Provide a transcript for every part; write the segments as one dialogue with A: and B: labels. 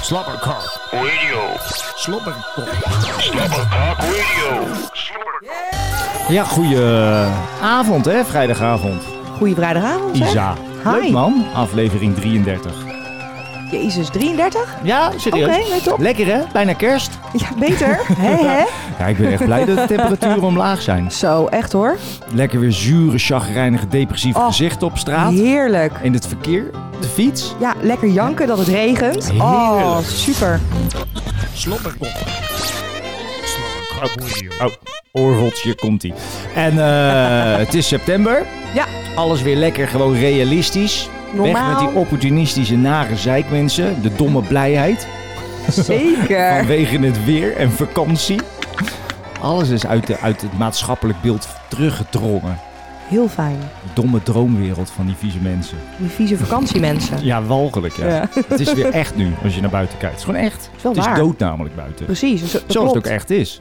A: Slobberkok.
B: Radio.
A: Slobberkok.
B: Slobberkok Radio. Slobberkok.
A: Ja, goeie eh, avond hè, vrijdagavond.
C: Goeie vrijdagavond, hè?
A: Isa.
C: Hi.
A: Leuk man, aflevering 33.
C: Jezus, 33?
A: Ja, serieus.
C: Oké, nee, top.
A: Lekker hè, bijna kerst.
C: Ja, beter. Hé, hè?
A: Ja, ik ben echt blij dat de temperaturen omlaag zijn.
C: Zo, echt hoor.
A: Lekker weer zure, chagrijnige, depressieve
C: Oh,
A: gezichten op straat.
C: Heerlijk.
A: In het verkeer, op de fiets.
C: Ja, lekker janken dat het regent. Oh,
A: Heerlijk.
C: super.
A: Slobberkok. Oh, oorrotje komt ie. En eh, het is september.
C: Ja.
A: Alles weer lekker, gewoon realistisch. Weg
C: Normaal.
A: met die opportunistische nare zeikmensen. De domme blijheid.
C: Zeker.
A: Vanwege het weer en vakantie. Alles is uit, de, uit het maatschappelijk beeld teruggedrongen.
C: Heel fijn.
A: De domme droomwereld van die vieze mensen.
C: Die vieze vakantiemensen.
A: Ja, walgelijk ja.
C: Ja.
A: Het is weer echt nu, als je naar buiten kijkt. Het is gewoon echt.
C: Is wel
A: Het is
C: waar.
A: dood namelijk buiten.
C: Precies. dus dat
A: Zoals het ook
C: klopt.
A: echt is.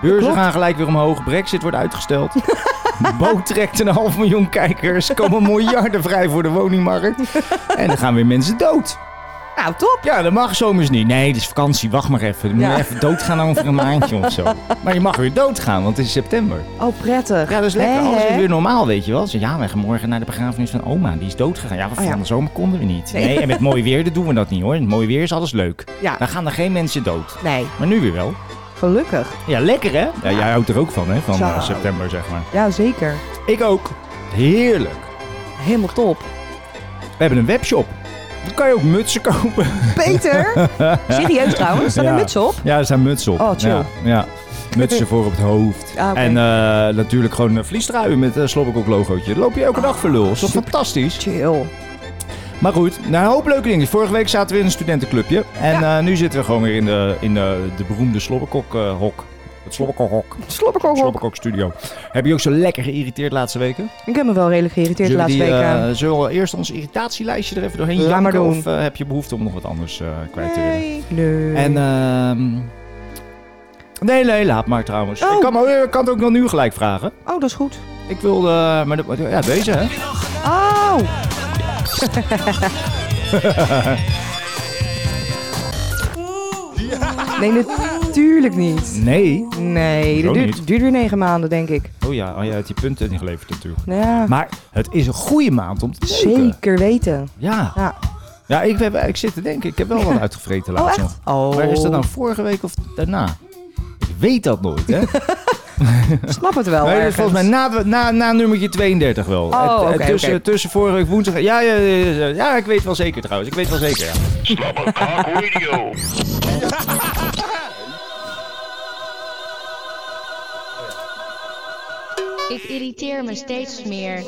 A: Beurzen
C: Klopt.
A: gaan gelijk weer omhoog. Brexit wordt uitgesteld. Bo trekt een half miljoen kijkers. Komen miljarden vrij voor de woningmarkt. En dan gaan weer mensen dood.
C: Nou, top.
A: Ja, dat mag zomers niet. Nee, het is vakantie. Wacht maar even. Dan moet
C: Ja.
A: je even doodgaan over een maandje of zo. Maar je mag weer doodgaan, want het is september.
C: Oh, prettig.
A: Ja, dat is lekker.
C: Hè,
A: Alles is
C: hè?
A: weer normaal, weet je wel. Zo, ja, wij gaan morgen naar de begrafenis van oma. Die is doodgegaan. Oh, Ja, we
C: ja.
A: van de zomer konden we niet.
C: Nee.
A: Nee, en met mooi weer dat doen we dat niet hoor. Met mooi weer is alles leuk. Dan
C: Ja,
A: gaan er geen mensen dood.
C: nee.
A: Maar nu weer wel.
C: Gelukkig.
A: Ja, lekker hè? Ja, jij houdt er ook van hè, van
C: Zo.
A: eh, september zeg maar.
C: Ja, zeker.
A: Ik ook. Heerlijk.
C: Helemaal top.
A: We hebben een webshop. Dan kan je ook mutsen kopen.
C: Peter? Serieus trouwens? Staat
A: Ja.
C: er muts op?
A: Ja, er staan mutsen op.
C: Oh, chill.
A: Ja, ja. Mutsen voor op het hoofd.
C: Ah, oké.
A: En eh, natuurlijk gewoon een vliestruien met een slobberkok logootje. Dan loop je elke dag voor lul. Is toch fantastisch?
C: Chill.
A: Maar goed, nou, een hoop leuke dingen. Vorige week zaten we in een studentenclubje. En eh, nu zitten we gewoon weer in de, in de, de beroemde slobberkok eh, hok. Het slobberkok hok.
C: Slobberkok.
A: Slobberkok studio. Heb je ook zo lekker geïrriteerd de laatste weken?
C: Ik heb me wel redelijk geïrriteerd de
A: Zullen we,
C: laatste
A: die,
C: weken.
A: eh, zullen we eerst ons irritatielijstje er even doorheen
C: Laat
A: janken,
C: maar doen.
A: Of eh, heb je behoefte om nog wat anders eh, kwijt te willen?
C: Nee. Nee.
A: En, ehm, nee, nee, laat maar trouwens.
C: Oh.
A: Ik, kan, maar, ik kan het ook wel nu gelijk vragen.
C: Oh, dat is goed.
A: Ik wilde... eh, maar de- ja, deze hè.
C: Oh! nee, natuurlijk niet.
A: Nee.
C: Nee,
A: Hoezo
C: dat
A: niet?
C: duurt, duurt weer negen maanden, denk ik.
A: Oh ja, oh, jij hebt die punten ingeleverd natuurlijk.
C: Ja,
A: Maar het is een goede maand om te tekenen.
C: zeker weten.
A: Ja.
C: Ja.
A: Ja, ik, heb- ik zit te denken. Ik heb wel wat uitgevreten
C: Oh,
A: laatst nog.
C: echt? Oh,
A: Maar is dat nou vorige week of daarna? Ik weet dat nooit, hè?
C: snap het wel.
A: Nee, dat is
C: ergens.
A: volgens mij na, na, na nummertje 32 wel.
C: Oh,
A: Eh, eh,
C: oké,
A: tussen,
C: oké.
A: tussen vorige week woensdag. Ja, ja, ja, ja, ja, ik weet wel zeker trouwens. Ik weet wel zeker. Ja.
B: Slobberkok Radio.
D: Ik irriteer me steeds meer.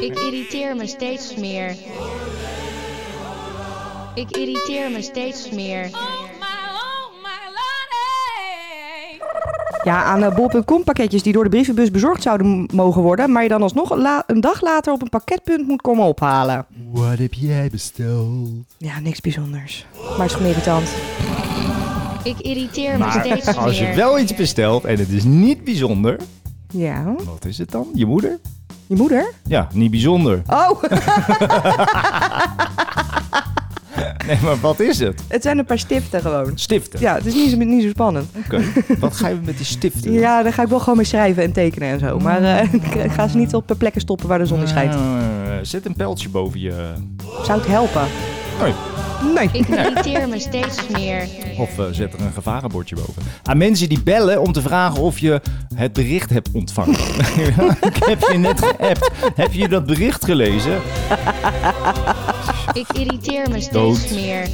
D: Ik irriteer me steeds meer. Ik irriteer me steeds meer.
E: Oh my, oh my lordy.
C: Ja, aan eh, bol.com pakketjes die door de brievenbus bezorgd zouden m- mogen worden, maar je dan alsnog een, la- een dag later op een pakketpunt moet komen ophalen.
F: Wat heb jij besteld?
C: Ja, niks bijzonders. Maar het is gewoon irritant.
D: Ik irriteer me
A: Maar
D: steeds
A: als je
D: meer.
A: wel iets bestelt en het is niet bijzonder.
C: Ja.
A: Wat is het dan? Je moeder?
C: Je moeder?
A: Ja, niet bijzonder.
C: Oh!
A: Nee, maar wat is het?
C: Het zijn een paar stiften gewoon.
A: Stiften.
C: Ja, het is niet zo, niet zo spannend.
A: Oké. Wat ga je met die stiften? doen?
C: Ja, daar ga ik wel gewoon mee schrijven en tekenen en
A: Mm.
C: zo. Maar eh, ik ga ze niet op eh, plekken stoppen waar de zon niet schijnt.
A: Eh, zet een pijltje boven je.
C: Zou het helpen?
A: Nee.
C: Nee.
D: Ik irriteer me steeds meer.
A: Of eh, zet er een gevarenbordje boven. Aan mensen die bellen om te vragen of je het bericht hebt ontvangen. Ik heb je net geappt. Heb je dat bericht gelezen?
D: Ik irriteer me steeds
A: Dood.
D: meer.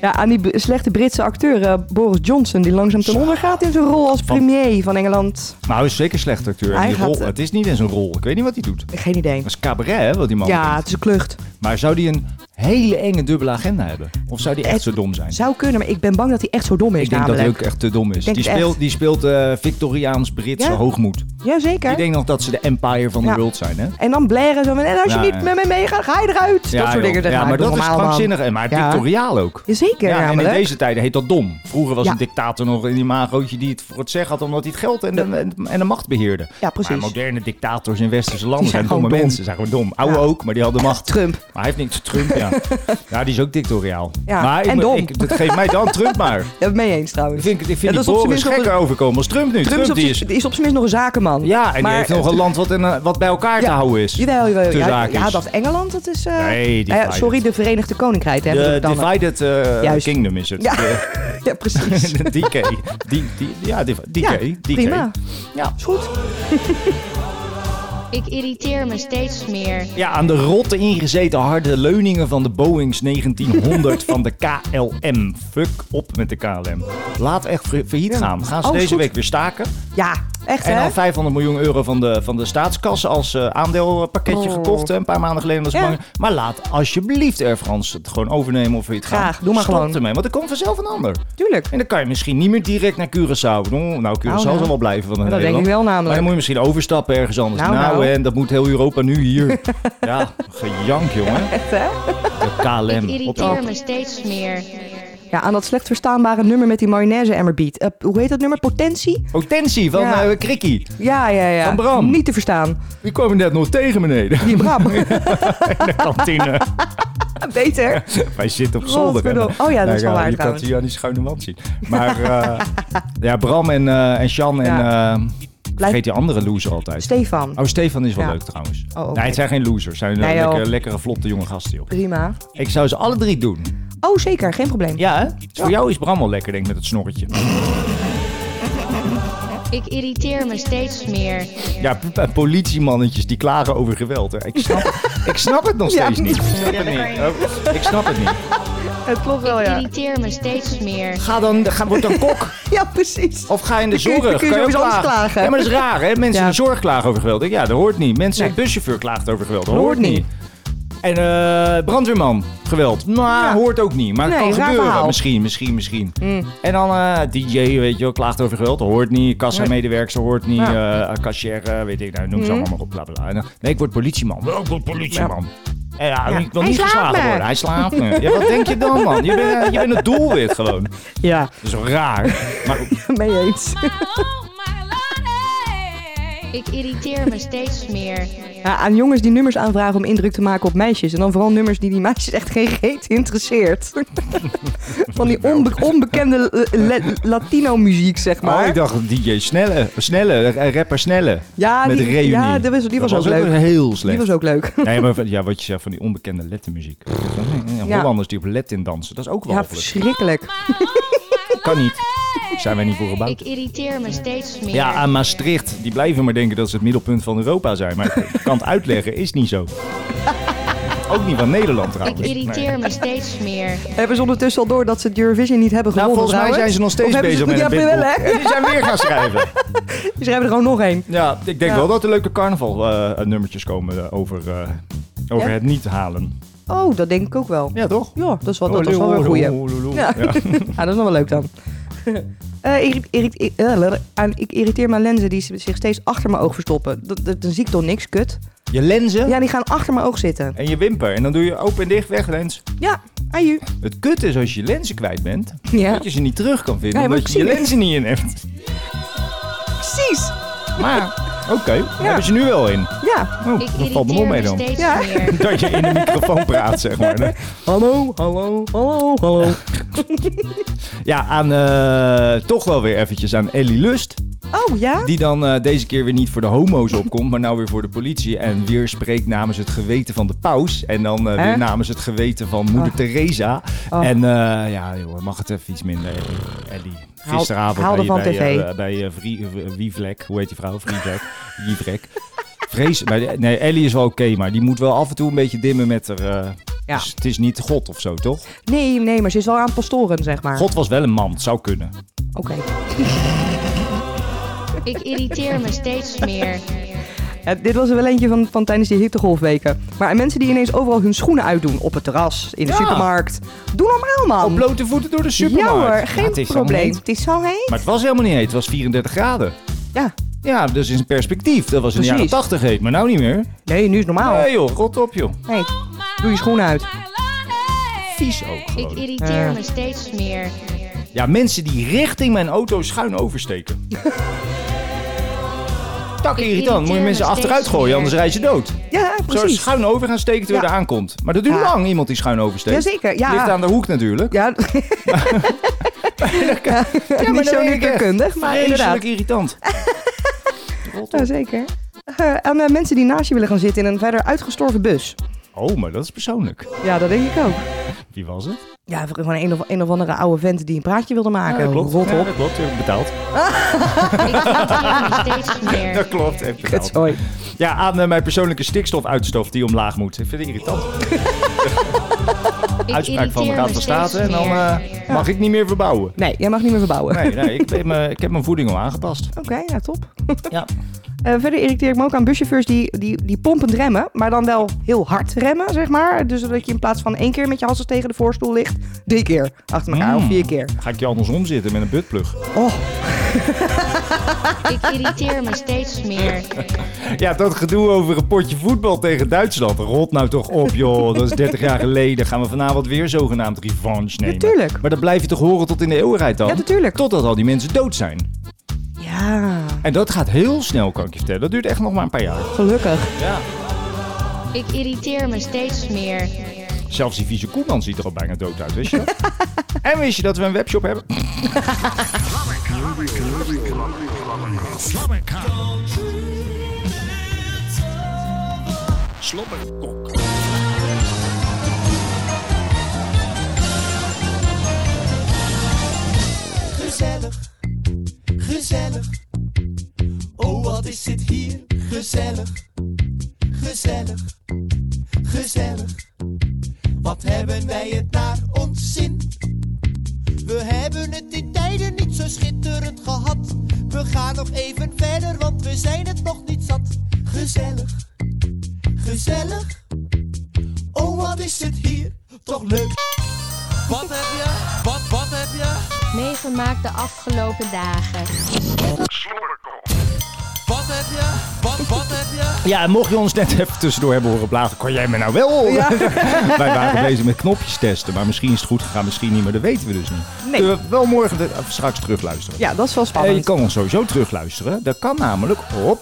C: Ja, aan die b- slechte Britse acteur eh, Boris Johnson, die langzaam ten onder gaat in zijn rol als premier van Engeland.
A: Nou, hij is zeker slecht acteur. En
C: Hij
A: die
C: gaat,
A: rol,
C: eh,
A: het is niet eens een rol. Ik weet niet wat hij doet.
C: Geen idee.
A: Dat is cabaret, hè, wat die man
C: Ja,
A: doet.
C: het is een klucht.
A: Maar zou die een hele enge dubbele agenda hebben? Of zou die echt
C: Het
A: zo dom zijn?
C: Zou kunnen, maar ik ben bang dat hij echt zo dom is
A: Ik denk dat hij
C: namelijk.
A: ook echt te dom is.
C: denk
A: Die
C: het
A: speelt,
C: echt.
A: die speelt eh, Victoriaans-Britse
C: Ja?
A: hoogmoed.
C: Jazeker.
A: Ik denk nog dat ze de empire van de
C: Ja.
A: world zijn, hè?
C: En dan blaren zo van, en als je
A: Ja,
C: niet
A: ja.
C: met me meegaat, ga je eruit. dat soort
A: joh.
C: dingen. zeg
A: ja, maar
C: Doe
A: dat is
C: normaal, man.
A: krankzinnig. En Maar
C: Ja.
A: dictoriaal ook.
C: Jazeker,
A: Ja, en in
C: namelijk.
A: deze tijden heet dat dom. Vroeger was
C: Ja.
A: een dictator nog een imagootje die het voor het zeggen had omdat hij het geld en de, en- en de macht beheerde.
C: Ja, precies.
A: Maar moderne dictators in westerse landen
C: Die zijn
A: zijn domme
C: gewoon dom.
A: mensen, zijn gewoon dom. Oude
C: Ja.
A: ook, maar die hadden macht.
C: Trump.
A: Maar hij heeft niks Trump, ja. ja. ja, die is ook dictatoriaal.
C: Ja,
A: maar ik,
C: en
A: me-
C: dom.
A: Ik, dat geeft mij dan Trump maar.
C: Ja, ben mee eens trouwens.
A: Ik vind, ik
C: Ja,
A: vind
C: dat is
A: die
C: op
A: Boris
C: zijn minst op
A: gekker overkomen als Trump nu. Trump,
C: Trump is op,
A: die
C: zijn-
A: is...
C: die is op zijn minst nog een zakenman.
A: Ja, en
C: Maar-
A: die heeft nog een land wat, in, eh, wat bij elkaar te
C: Ja,
A: houden is.
C: Jawel, jawel.
A: Te
C: Ja,
A: zaak
C: ja,
A: is.
C: dat Engeland, dat is... eh,
A: Nee, die
C: eh,
A: vrijheid.
C: sorry, de Verenigde Koninkrijk. Hè,
A: De
C: bedoel ik dan.
A: Divided eh,
C: Juist.
A: Kingdom is het.
C: Ja.
A: De-
C: Ja, precies.
A: de DK. Die, die, ja, die- DK.
C: Ja,
A: DK.
C: prima. Ja, is goed.
D: Ik irriteer me steeds meer.
A: Ja, aan de rotte ingezeten harde leuningen van de Boeings 1900 van de KLM. Fuck op met de KLM. Laat echt ver- failliet gaan. Gaan ze
C: Oh, is
A: deze
C: goed.
A: week weer staken.
C: Ja, echt
A: En
C: hè?
A: al 500 miljoen euro van de, van de staatskas als eh, aandeelpakketje
C: Oh.
A: gekocht. hè, Een paar maanden geleden. Dat is
C: Ja.
A: belangrijk. Maar laat alsjeblieft Air France het gewoon overnemen of je het gaat.
C: Graag, doe maar
A: Stop
C: gewoon.
A: ermee, want er komt vanzelf een ander.
C: Tuurlijk.
A: En dan kan je misschien niet meer direct naar Curaçao. Nou, nou Curaçao
C: Nou, nou.
A: zal wel blijven van
C: Dat denk
A: Nederland.
C: ik wel namelijk.
A: Maar dan moet je misschien overstappen ergens anders. Nou,
C: Nou, nou.
A: en dat moet heel Europa nu hier. ja, gejank jongen.
C: Echt hè?
A: De KLM. Op de
D: Irriteer me steeds meer.
C: Ja, aan dat slecht verstaanbare nummer met die mayonaise-emmer beat. Eh, hoe heet dat nummer? Potentie?
A: Potentie van
C: Ja.
A: eh, Krikkie.
C: Ja, ja, ja.
A: Van Bram.
C: Niet te verstaan.
A: Die kwam net nog tegen beneden.
C: Die Bram.
A: In de kantine.
C: Beter.
A: Wij zitten op zolder. hè.
C: Godverdomme. Oh ja, dat is wel
A: Nou,
C: waar
A: Je kan het
C: trouwens.
A: hier aan die schuine wand zien. Maar eh, ja, Bram en, eh en Sjan en...
C: Ja.
A: eh, vergeet die andere loser altijd.
C: Stefan.
A: Oh, Stefan is wel
C: Ja.
A: leuk trouwens.
C: Oh, oké.
A: Nee, het zijn geen losers. Het zijn eh,
C: Nee, joh.
A: lekkere, lekkere, vlotte jonge gasten, joh.
C: Prima.
A: Ik zou ze alle drie doen.
C: Oh, zeker. Geen probleem.
A: Ja, hè? Voor jou is Bram wel lekker, denk ik, met het snorretje.
D: Ik irriteer me steeds meer.
A: Ja, p- p- politiemannetjes die klagen over geweld. Hè. Ik, snap, ik snap het nog
C: Ja.
A: steeds niet. Ik snap het niet. Oh, ik snap het niet.
C: Het klopt wel, Oh ja.
D: Irriteer me steeds meer.
A: Ga dan, ga, word dan kok.
C: Ja, precies.
A: Of ga in de
C: kun je-
A: zorg.
C: dan kun je
A: Kan ook
C: sowieso anders klagen.
A: Ja, maar dat is raar, hè? Mensen
C: Ja.
A: in de zorg klagen over geweld. Ik, Ja, dat hoort niet. Mensen,
C: Nee.
A: de buschauffeur klaagt over geweld. Dat
C: Dat
A: hoort
C: hoort
A: niet. En eh, brandweerman, geweld. Nou,
C: Ja.
A: hoort ook niet. Maar het
C: Nee,
A: kan
C: raar
A: gebeuren.
C: verhaal. Mm.
A: Misschien, misschien, misschien. En dan eh, DJ, weet je wel, klaagt over geweld. Dat hoort niet. Kassa-medewerkster hoort niet. eh
C: Ja. Mm.
A: cashier, eh, weet ik nou, noem ze allemaal maar op. Bla, bla, bla. En dan- Nee, ik word politieman. Wel, ik word politieman. En ja, ik wil
C: Hij
A: niet
C: slaat
A: geslagen
C: me.
A: worden. Hij slaat me. Ja, wat denk je dan, man? Je bent, eh, je bent het doelwit gewoon.
C: Ja,
A: Dat is wel raar. Maar goed.
C: mee eens.
E: Oh my lordy.
D: Ik irriteer me steeds meer.
C: Ja, aan jongens die nummers aanvragen om indruk te maken op meisjes. En dan vooral nummers die die meisjes echt geen reet interesseert. Van die onbe- onbekende eh, le- Latino-muziek, zeg
A: Maar
C: maar.
A: Oh, ik dacht DJ Snelle, Snelle, eh, rapper Snelle.
C: Ja,
A: met
C: die-
A: de reunie.
C: ja, die was- die was
A: dat
C: ook
A: was
C: leuk.
A: heel slecht.
C: Die was ook leuk.
A: Nee, maar van- ja, wat je zegt van die onbekende lettermuziek. Ja,
C: Ja.
A: Hollanders die op Latin dansen, dat is ook wel
C: Ja,
A: walgelijk.
C: verschrikkelijk.
A: kan niet. Zijn wij niet voor
D: Ik
A: gebouwd?
D: irriteer me steeds meer.
A: Ja, ah, aan Maastricht, die blijven maar denken dat ze het middelpunt van Europa zijn. Maar ik kan het uitleggen, is niet zo. ook niet van Nederland
D: Ik
A: trouwens. Nee.
D: irriteer me steeds meer.
C: Hebben ze ondertussen al door dat ze het Eurovision niet hebben
A: Nou,
C: gewonnen?
A: volgens mij zijn ze nog steeds bezig met een
C: een
A: bitboek.
C: wel, hè?
A: En die zijn weer gaan schrijven.
C: Ze hebben er gewoon nog één.
A: Ja, ik denk
C: Ja.
A: wel dat er leuke carnaval eh, nummertjes komen eh, over, eh, over
C: Ja?
A: het niet halen.
C: Oh, dat denk ik ook wel.
A: Ja, toch?
C: Ja, dat is wel, dat is wel weer een goeie. Ja. Ah, dat is nog wel leuk dan. Eh, irri- irri- i- eh, aan- ik irriteer mijn lenzen die zich steeds achter mijn oog verstoppen. Dat, dat, dan zie ik toch niks, kut.
A: Je lenzen
C: Ja, die gaan achter mijn oog zitten.
A: en je wimper. En dan doe je open en dicht weg lens.
C: Ja, aju.
A: Het kut is als je je lenzen kwijt bent,
C: Ja.
A: dat je ze niet terug kan vinden.
C: Nee, maar
A: omdat
C: ik
A: je je
C: zie het.
A: lenzen niet in hebt.
C: Precies.
A: Maar, oké, daar hebben ze nu wel in.
C: Ja.
A: Oh,
D: Ik
A: dat valt me wel
D: irriteer
A: mee
D: me
A: dan.
D: steeds
C: Ja.
D: meer.
A: Dat je in de microfoon praat, zeg maar. hè.
C: Hallo, hallo, hallo, hallo.
A: Ja, aan eh, toch wel weer eventjes aan Ellie Lust.
C: Oh, ja?
A: Die dan eh, deze keer weer niet voor de homo's opkomt, maar nou weer voor de politie. En weer spreekt namens het geweten van de paus. En dan eh,
C: Hè?
A: weer namens het geweten van moeder
C: Ah.
A: Teresa.
C: Ah.
A: En eh, ja, joh, mag het even iets minder, eh, Ellie.
C: Haal-
A: Gisteravond
C: haal
A: bij,
C: ervan
A: bij,
C: tv.
A: eh, bij eh, Vrie- eh, Wievlek. Hoe heet die vrouw? Vrievlek. Wievlek. Vrees. bij de- nee, Ellie is wel oké, maar die moet wel af en toe een beetje dimmen met haar... eh,
C: Ja.
A: dus het is niet God of zo, toch?
C: Nee, nee, maar ze is wel aan het pastoren, zeg maar.
A: God was wel een man, het zou kunnen.
C: Oké.
D: Ik irriteer me steeds meer.
C: Ja, dit was er wel eentje van, van tijdens die hittegolfweken. Maar aan mensen die ineens overal hun schoenen uitdoen. Op het terras, in de
A: Ja.
C: supermarkt. Doe normaal, man.
A: Op blote voeten door de supermarkt.
C: Ja hoor,
A: Ja,
C: geen
A: het is allemaal
C: probleem.
A: niet
C: Het is zo heet.
A: Maar het was helemaal niet heet. Het was 34 graden.
C: Ja.
A: Ja, dus in perspectief. Dat was in de jaren
C: Precies. Nou.
A: 80 heet, maar nou niet meer.
C: Nee, nu is het normaal.
A: Nee joh, rot op joh.
C: Nee, doe je schoenen uit.
E: My lordy.
A: Vies ook
D: Ik
A: gewoon.
D: irriteer me steeds meer.
A: Ja, mensen die richting mijn auto schuin oversteken. tak irritant. Moet je mensen achteruit gooien, anders rijd je dood.
C: Ja,
A: Zo
C: precies.
A: schuin over gaan steken terwijl je
C: Ja.
A: aankomt. Maar dat duurt
C: Ja.
A: lang, iemand die schuin oversteekt.
C: Jazeker, ja.
A: Ligt aan de hoek natuurlijk.
C: Ja, ja,
A: dan
C: niet zo
A: ben ik echt
C: natuurkundig, maar
A: Vreselijk
C: inderdaad.
A: irritant.
C: Ja, zeker. Eh, aan eh, mensen die naast je willen gaan zitten in een verder uitgestorven bus.
A: Oh, maar dat is persoonlijk.
C: Ja, dat denk ik ook.
A: Wie was het?
C: Ja, gewoon een of, een of andere oude vent die een praatje wilde maken.
A: dat klopt.
C: Rot
A: Ja,
C: op.
A: dat klopt, heb ik betaald.
D: steeds meer.
A: Dat klopt, heb ik betaald.
C: Kutzooi.
A: Ja, aan eh, mijn persoonlijke stikstofuitstoot die omlaag moet. Ik vind het irritant.
D: Ik
A: Uitspraak van de
D: irriteer
A: Raad
D: me
A: van
D: steeds
A: State en dan
D: meer.
A: eh, mag ik niet meer verbouwen.
C: Nee, jij mag niet meer verbouwen.
A: Nee, nee ik, ben, eh, ik heb mijn voeding al aangepast.
C: Oké, ja, top.
A: Ja.
C: Eh, verder irriteer ik me ook aan buschauffeurs die, die, die pompend remmen, maar dan wel heel hard remmen, zeg maar. Dus dat je in plaats van één keer met je halsen tegen de voorstoel ligt, drie keer achter elkaar of
A: Mm.
C: vier keer.
A: Ga ik je andersom zitten met een buttplug?
C: Oh,
D: Ik irriteer me steeds meer.
A: Ja, dat gedoe over een potje voetbal tegen Duitsland. Rot nou toch op, joh. Dat is 30 jaar geleden. Gaan we vanavond weer zogenaamd revanche nemen.
C: Natuurlijk.
A: Maar dat blijf je toch horen tot in de eeuwigheid dan?
C: Ja, natuurlijk.
A: Totdat al die mensen dood zijn.
C: ja,
A: En dat gaat heel snel, kan ik je vertellen. Dat duurt echt nog maar een paar jaar.
C: gelukkig.
A: Ja.
D: Ik irriteer me steeds meer.
A: Zelfs die vieze Koeman ziet er al bijna dood uit, wist je dat? en wist je dat we een webshop hebben?
G: Gezellig, gezellig. Oh, wat is het hier gezellig, gezellig, gezellig. Wat hebben wij het naar ons zin? We hebben het in tijden niet zo schitterend gehad. We gaan nog even verder, want we zijn het nog niet zat. Gezellig, gezellig. Oh, wat is het hier toch leuk? Wat heb je? Wat, wat heb je?
D: Meegemaakt de afgelopen dagen.
B: Slobberkok.
G: Wat heb je? Wat, wat heb je?
A: Ja, en mocht je ons net even tussendoor hebben horen blazen, kon jij me nou wel horen? Wij waren bezig met knopjes testen, maar misschien is het goed gegaan, misschien niet, maar dat weten we dus niet.
C: Nee.
A: Kunnen we wel morgen de- of straks terugluisteren?
C: Ja, dat is wel
A: Eh,
C: spannend.
A: je kan ons sowieso terugluisteren. Dat kan namelijk op...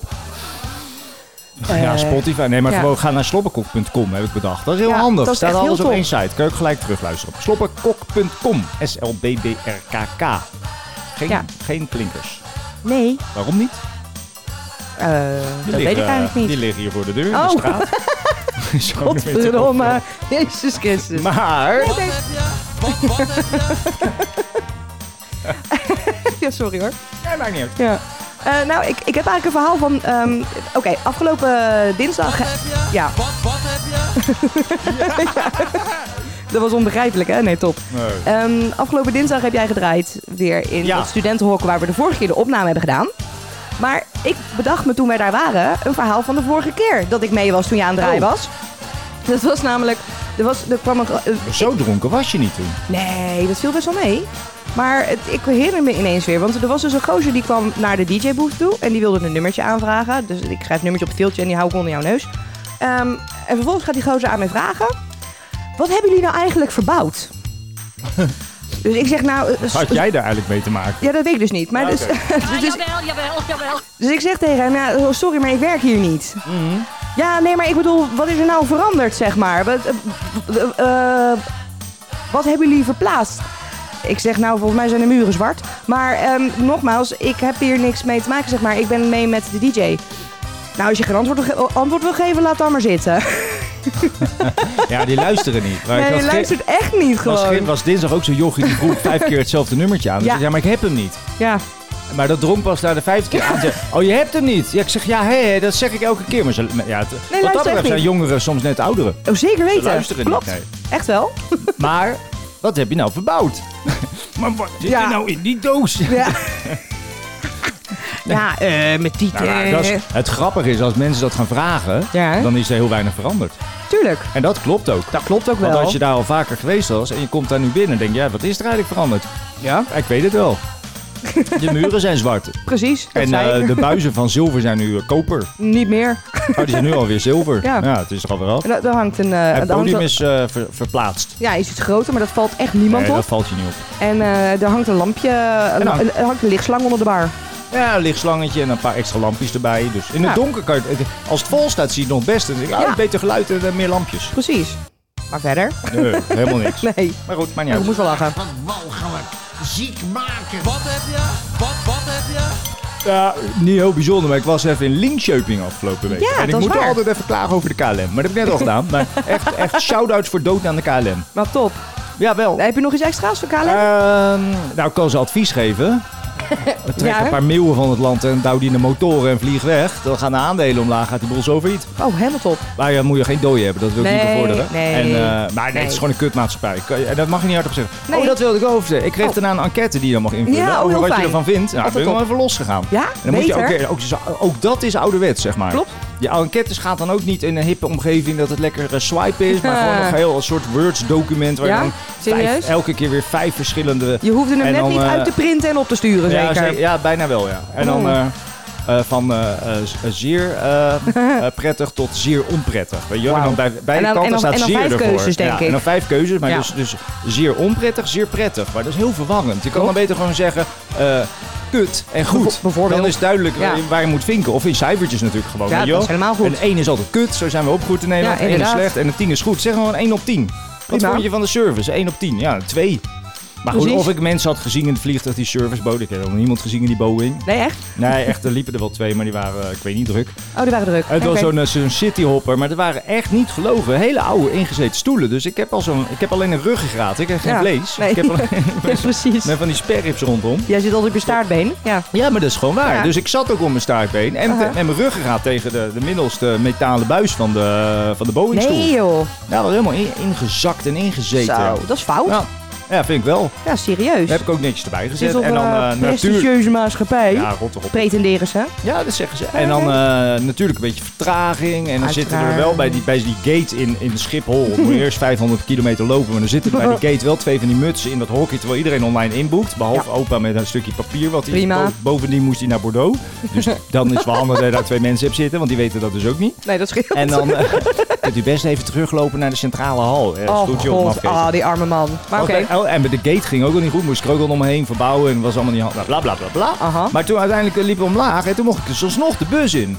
A: ja,
C: Eh,
A: Spotify. Nee, maar
C: ja.
A: gewoon ga naar slobberkok.com, heb ik bedacht. Dat is heel
C: Ja,
A: handig.
C: dat is
A: Staat
C: echt
A: alles
C: heel
A: op
C: top.
A: één site. Kun je ook gelijk terugluisteren. op Slobberkok.com. S-L-B-B-R-K-K. Geen,
C: Ja.
A: geen klinkers.
C: Nee,
A: Waarom niet?
C: eh,
A: Die
C: dat weet ik
A: liggen,
C: eigenlijk
A: eh,
C: niet.
A: Die liggen hier voor de deur in
C: Oh.
A: de straat. Zo
C: Godverdomme. Jezus Christus.
A: Maar...
C: Nee, nee. ja, sorry hoor.
A: Nee, maakt niet uit.
C: Ja. Eh, nou, ik, ik heb eigenlijk een verhaal van... ehm, Oké, afgelopen eh, dinsdag... Ja. Wat, heb je? Dat was onbegrijpelijk, hè? Nee, top. Ehm, afgelopen dinsdag heb jij gedraaid weer in
A: Ja.
C: het studentenhok... waar we de vorige keer de opname hebben gedaan. Maar ik bedacht me toen wij daar waren... een verhaal van de vorige keer dat ik mee was toen je aan het draaien
A: Oh.
C: was. Dat was namelijk... Er, was, er kwam een, eh,
A: Zo dronken was je niet toen.
C: Nee, dat viel best wel mee. Maar het, ik herinner me ineens weer, want er was dus een gozer die kwam naar de DJ-booth toe en die wilde een nummertje aanvragen. Dus ik schrijf een nummertje op het filtje en die hou ik onder jouw neus. Ehm, en vervolgens gaat die gozer aan mij vragen: Wat hebben jullie nou eigenlijk verbouwd? dus ik zeg nou. eh, s-
A: Had jij daar eigenlijk mee te maken?
C: Ja, dat weet ik dus niet. Maar
A: Ah,
C: dus,
A: oké.
E: Ah,
C: dus, dus,
E: jawel, jawel, jawel.
C: dus ik zeg tegen hem: ja, Sorry, maar ik werk hier niet. Ja, nee, maar ik bedoel, wat is er nou veranderd, zeg maar? Wat, eh, eh, eh, wat hebben jullie verplaatst? Ik zeg, nou, volgens mij zijn de muren zwart. Maar ehm, nogmaals, ik heb hier niks mee te maken, zeg maar. Ik ben mee met de DJ. Nou, als je geen antwoord, wil ge- antwoord wil geven, laat dan maar zitten.
A: Ja, die luisteren niet. Maar ik
C: Nee,
A: had
C: je
A: ge-
C: luistert echt niet
A: was, ge-
C: gewoon.
A: was dinsdag ook zo'n jochie die vroeg vijf keer hetzelfde nummertje aan. Dus
C: Ja.
A: ik zei, maar ik heb hem niet.
C: Ja,
A: Maar dat dronk pas daar de vijfde keer aan. Ze- Oh, je hebt hem niet. Ja, ik zeg, ja, hé, hé, dat zeg ik elke keer. Maar ze, ja, het- wat dat
C: luister
A: betreft
C: echt
A: zijn
C: niet.
A: jongeren soms net ouderen.
C: oh, zeker
A: Ze
C: weten.
A: luisteren
C: Klopt,
A: niet. nee.
C: echt wel.
A: Maar, wat heb je nou verbouwd? maar wat zit
C: Ja.
A: er nou in die doos?
C: Ja, ja eh, met die...
A: Nou, maar dat is- het grappige is, als mensen dat gaan vragen,
C: Ja, hè?
A: dan is er heel weinig veranderd.
C: Tuurlijk,
A: En dat klopt ook.
C: dat klopt ook
A: Want
C: wel.
A: als je daar al vaker geweest was en je komt daar nu binnen, denk je, ja, wat is er eigenlijk veranderd?
C: Ja,
A: Ja, ik weet het wel. De muren zijn zwart.
C: precies. Dat
A: En
C: zei
A: eh,
C: ik.
A: de buizen van zilver zijn nu eh, koper.
C: Niet meer.
A: Oh, die zijn nu alweer zilver. Ja,
C: Ja.
A: het is er alweer af.
C: En dat- daar hangt een... eh,
A: Het
C: daar hangt
A: podium
C: een-
A: is eh, ver- verplaatst.
C: Ja, is iets groter, maar dat valt echt niemand
A: Nee,
C: op.
A: dat valt je niet op.
C: En eh, er hangt een lampje, een-
A: dan-
C: een- er hangt een lichtslang onder de bar.
A: Ja, een lichtslangetje en een paar extra lampjes erbij. Dus in het
C: Ja.
A: donker kan je, het- als het vol staat, zie je het nog het beste. Dan denk ik, ah,
C: Ja.
A: beter geluid en eh, meer lampjes.
C: Precies. Maar verder?
A: Nee, helemaal niks.
C: Nee.
A: Maar goed, maar niet
C: Ik
A: uit.
C: moest wel lachen.
G: Wat heb je? Wat, wat heb je?
A: Ja, niet heel bijzonder, maar ik was even in Linkshöping afgelopen week.
C: Ja,
A: en ik
C: dat is
A: moet
C: waar.
A: altijd even klagen over de KLM. Maar dat heb ik net al gedaan. Maar echt, echt shout-outs voor dood aan de KLM.
C: Maar top.
A: Jawel.
C: Heb je nog iets extra's voor KLM?
A: Ehm nou, ik kan ze advies geven. Trek
C: Ja.
A: een paar meeuwen van het land en douw die in de motoren en vlieg weg. Dan gaan de aandelen omlaag, gaat die boel zo failliet.
C: Oh, helemaal top.
A: Maar ja, moet je geen dooi hebben, dat wil ik niet
C: Nee,
A: bevorderen.
C: nee,
A: en, eh, maar nee,
C: nee.
A: het is gewoon een kutmaatschappij. Ik kan- En dat mag je niet hardop zeggen.
C: Nee.
A: Oh, dat wilde ik over zeggen. Ik kreeg
C: Oh.
A: daarna een enquête die je dan mag invullen
C: Ja, oh,
A: over
C: heel
A: wat je
C: fijn.
A: ervan vindt. Nou, ik ben
C: Altijd
A: ik wel
C: top.
A: even losgegaan.
C: Ja,
A: En dan moet je ook,
C: beter.
A: ook, ook dat is ouderwets, zeg maar.
C: Klopt.
A: Je enquêtes gaat dan ook niet in een hippe omgeving dat het lekker eh, swipe is, maar gewoon
C: Ja.
A: een heel een soort Words document waar
C: Ja?
A: je dan vijf-
C: Serieus?
A: elke keer weer vijf verschillende
C: Je hoefde hem
A: En
C: net
A: dan,
C: niet
A: eh,
C: uit te printen en op te sturen,
A: ja,
C: zeker.
A: ze- ja, bijna wel, ja. En dan
C: Oh.
A: eh, eh, van eh, eh, z- eh, zeer eh, eh, prettig tot zeer onprettig. Weet je? wel? En
C: Wauw.
A: dan bij beide
C: En dan-
A: kanten
C: en dan-
A: staat
C: en dan
A: zeer
C: vijf
A: ervoor.
C: keuzes, denk
A: ja,
C: ik.
A: En dan vijf keuzes, maar
C: Ja.
A: dus, dus zeer onprettig, zeer prettig. Maar dat is heel verwarrend. Je kan dan beter gewoon zeggen... eh, Kut en goed.
C: Bijvo- bijvoorbeeld.
A: Dan is duidelijk waar
C: Ja.
A: je- waar je moet vinken. Of in cijfertjes natuurlijk gewoon.
C: Ja,
A: weet je
C: dat is
A: wel?
C: helemaal goed.
A: Een 1 is altijd kut. Zo zijn we opgegroeid in Nederland.
C: Ja,
A: Een 1 is
C: inderdaad. nou?
A: slecht en een 10 is goed. Zeg gewoon 1 op 10. Wat
C: Prima.
A: vond je van de service? 1 op 10. Ja, 2. Maar goed,
C: Precies.
A: of ik mensen had gezien in het vliegtuig die service boden. Ik heb helemaal niemand gezien in die Boeing.
C: Nee, echt?
A: Nee, echt, er liepen er wel twee, maar die waren, eh, ik weet niet, druk.
C: Oh, die waren druk.
A: Het was
C: Oké.
A: zo'n eh, zo'n cityhopper, maar er waren echt niet gelogen. Hele oude ingezeten stoelen. Dus ik heb, al zo'n, ik heb alleen een ruggengraat. Ik heb geen
C: Ja,
A: vlees.
C: nee.
A: Ik heb alleen
C: Ja, precies.
A: met van die sperrips rondom.
C: Jij zit altijd op je staartbeen. Ja.
A: Ja, maar dat is gewoon waar.
C: Ja.
A: Dus ik zat ook op mijn staartbeen. En,
C: Aha.
A: en mijn ruggengraat tegen de, de middelste metalen buis van de, van de Boeing-stoel.
C: Nee, joh.
A: Ja, dat was helemaal in- ingezakt en ingezeten.
C: Zo, dat is fout.
A: Ja. ja, vind ik wel.
C: Ja, serieus.
A: Daar heb ik ook netjes erbij
C: Dit
A: gezet.
C: is toch
A: en dan
C: een
A: eh, natuur...
C: prestigieuze maatschappij.
A: Ja, rot toch op.
C: Pretenderen ze.
A: Ja, dat zeggen ze. En dan eh, natuurlijk een beetje vertraging. En dan
C: Uiteraard.
A: zitten er wel bij die, bij die gate in, in Schiphol. Moet je eerst 500 kilometer lopen. Maar dan zitten er bij die gate wel twee van die mutsen in dat hokje. Terwijl iedereen online inboekt. Behalve opa met een stukje papier. Wat hij
C: Prima.
A: bo- bovendien moest hij naar Bordeaux. Dus dan is het wel handig dat je daar twee mensen hebt zitten. Want die weten dat dus ook niet.
C: Nee, dat scheelt.
A: En dan eh, kunt u best even teruglopen naar de centrale hal. Eh,
C: oh,
A: stoeltje op hem
C: god.
A: afgeven.
C: Ah, die arme man. Maar oké.
A: Want bij- oh, en met de gate ging ook al niet goed. Moest ik er ook al omheen verbouwen. En was allemaal niet handig. Bla bla bla bla.
C: Aha.
A: Maar toen uiteindelijk eh, liepen we omlaag. En toen mocht ik dus alsnog de bus in.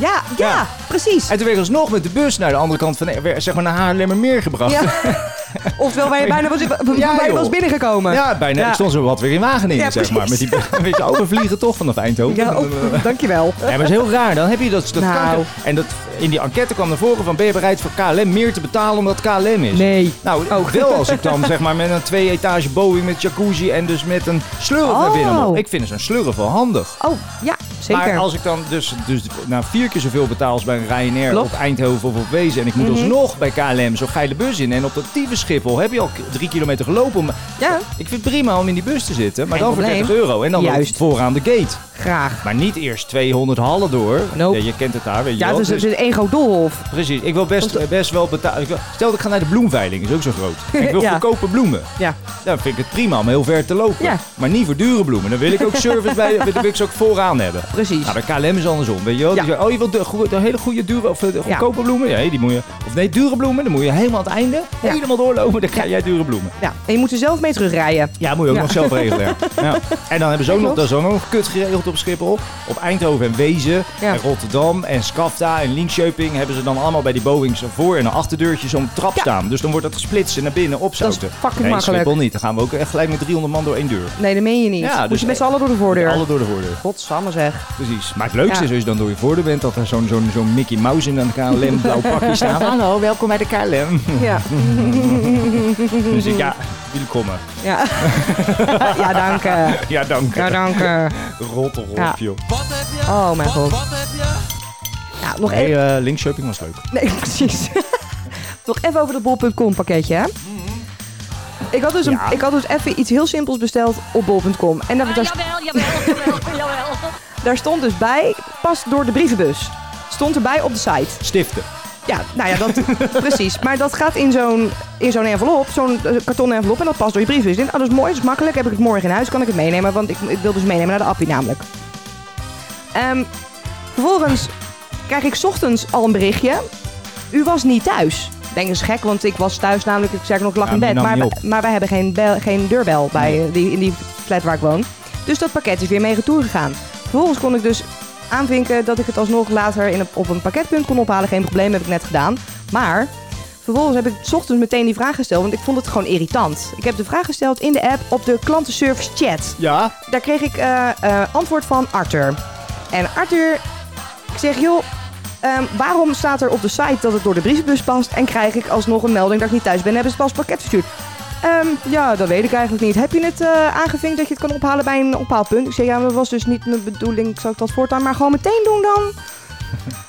C: Ja, ja,
A: Ja.
C: precies.
A: En toen werd ik alsnog met de bus naar de andere kant van eh, weer, zeg maar naar Haarlemmermeer gebracht.
C: Ja. Oftewel, waar je bijna was, waar je
A: joh.
C: was binnengekomen.
A: Ja, bijna.
C: Ja.
A: Ik stond zo wat weer in Wageningen,
C: Ja,
A: zeg maar. Met
C: precies.
A: die met die overvliegen toch vanaf Eindhoven.
C: Ja, oh, dankjewel.
A: Ja, maar het is heel raar. Dan heb je dat, dat
C: Nou.
A: kanker- En dat, in die enquête kwam naar voren van... ben je bereid voor KLM meer te betalen omdat het KLM is?
C: Nee.
A: Nou, ook wel als ik dan zeg maar met een twee etage Boeing met jacuzzi... en dus met een slurf naar binnen
C: Oh.
A: moet. Ik vind zo'n slurf wel handig.
C: Oh, ja, zeker.
A: Maar als ik dan dus, dus nou, vier keer zoveel betaal als bij een Ryanair
C: Klopt. Mhm.
A: op Eindhoven of op Wezen... en ik moet alsnog bij KLM zo'n geile bus in... en op dat tieve Schiphol heb je al k- drie kilometer gelopen... om-
C: Ja,
A: Ik vind het prima om in die bus te zitten, maar
C: Geen
A: dan
C: probleem.
A: voor 30 euro. En dan
C: Juist.
A: vooraan de gate.
C: graag.
A: Maar niet eerst 200 hallen door.
C: Nope.
A: Ja, je kent het daar, weet je
C: Ja,
A: wel.
C: het is, het
A: Dus-
C: is een groot doolhof.
A: Precies, ik wil best, eh, best wel betalen. ik wil- Stel dat ik ga naar de bloemveiling, is ook zo groot. Ik wil
C: Ja.
A: goedkope bloemen.
C: Ja.
A: Dan vind ik het prima om heel ver te lopen.
C: Ja.
A: Maar niet voor dure bloemen. Dan wil ik ook service bij, dan wil ik ze ook vooraan hebben.
C: Precies.
A: Nou, bij KLM is andersom, weet je wel.
C: Ja.
A: Die zeggen, oh, je wilt de, goe- de hele goede dure of eh, de
C: Ja.
A: goedkope bloemen? Ja, die moet je... Of nee, dure bloemen, dan moet je helemaal aan het einde,
C: Ja.
A: helemaal doorlopen. Dan ga jij dure bloemen.
C: Ja, en je moet er zelf mee terugrijden.
A: Ja, moet je ook nog zelf regelen. Ja. En dan hebben ze ook nog, dat is ook nog kut geregeld op Schiphol. Op Eindhoven en Wezen
C: Ja.
A: en Rotterdam en Skafta en Linkshöping hebben ze dan allemaal bij die Boeings een voor- en een achterdeurtje zo'n trap
C: Ja.
A: staan. Dus dan wordt dat gesplitst en naar binnen opzouten.
C: Dat is fucking
A: nee,
C: makkelijk.
A: Schiphol niet. Dan gaan we ook echt gelijk met 300 man door één deur.
C: Nee, dat meen je niet.
A: Ja,
C: Moet
A: dus
C: je met z'n
A: nee.
C: allen door de voordeur.
A: Alle door de voordeur.
C: Godsamme zeg.
A: Precies. Maar het leukste
C: Ja.
A: is als je dan door je voordeur bent dat er zo'n zo'n zo'n Mickey Mouse in een KLM blauw pakje staat. Hallo, welkom bij de KLM.
C: Ja.
A: Dus ik, ja, jullie komen.
C: Ja, ja dank. eh.
A: Ja, dank.
C: Ja, dank. eh.
A: Rot erop,
C: Ja.
A: joh.
G: Wat heb je?
C: Oh, mijn
G: Wat-
C: god.
G: Wat heb je?
C: Ja, nog
A: Nee,
C: even.
A: eh, Linkshöping was leuk.
C: Nee, precies. nog even over dat bol.com pakketje, hè? Ik had, dus een,
A: Ja.
C: ik had dus even iets heel simpels besteld op bol.com. En daar, daar,
E: Jawel, jawel, jawel, jawel.
C: daar stond dus bij, pas door de brievenbus. Stond erbij op de site.
A: Stiften.
C: Ja, nou ja, dat, precies. Maar dat gaat in zo'n in zo'n envelop, zo'n eh, kartonnen envelop, en dat past door je briefbus. Ik denk, oh, dat is mooi, dat is makkelijk, heb ik het morgen in huis, kan ik het meenemen, want ik, ik wil dus meenemen naar de appie namelijk. Ehm, vervolgens krijg ik 's ochtends al een berichtje. U was niet thuis. Ik Denk eens gek, want ik was thuis namelijk, ik zei nog, ik lag
A: Ja,
C: in
A: die
C: bed.
A: nam
C: Maar,
A: niet
C: we- maar wij hebben geen, bel, geen deurbel bij, eh, die, in die flat waar ik woon. Dus dat pakket is weer mee retour gegaan. Vervolgens kon ik dus aanvinken dat ik het alsnog later in een, op een pakketpunt kon ophalen. Geen probleem, heb ik net gedaan. Maar vervolgens heb ik 's ochtends meteen die vraag gesteld, want ik vond het gewoon irritant. Ik heb de vraag gesteld in de app op de klantenservice chat.
A: Ja?
C: Daar kreeg ik eh, eh, antwoord van Arthur. En Arthur, ik zeg joh, ehm, waarom staat er op de site dat het door de brievenbus past en krijg ik alsnog een melding dat ik niet thuis ben en hebben ze pas pakket verstuurd? Ehm, ja, dat weet ik eigenlijk niet. Heb je het eh, aangevinkt dat je het kan ophalen bij een ophaalpunt? Ik zeg ja, maar dat was dus niet mijn bedoeling. Zou ik dat voortaan maar gewoon meteen doen dan?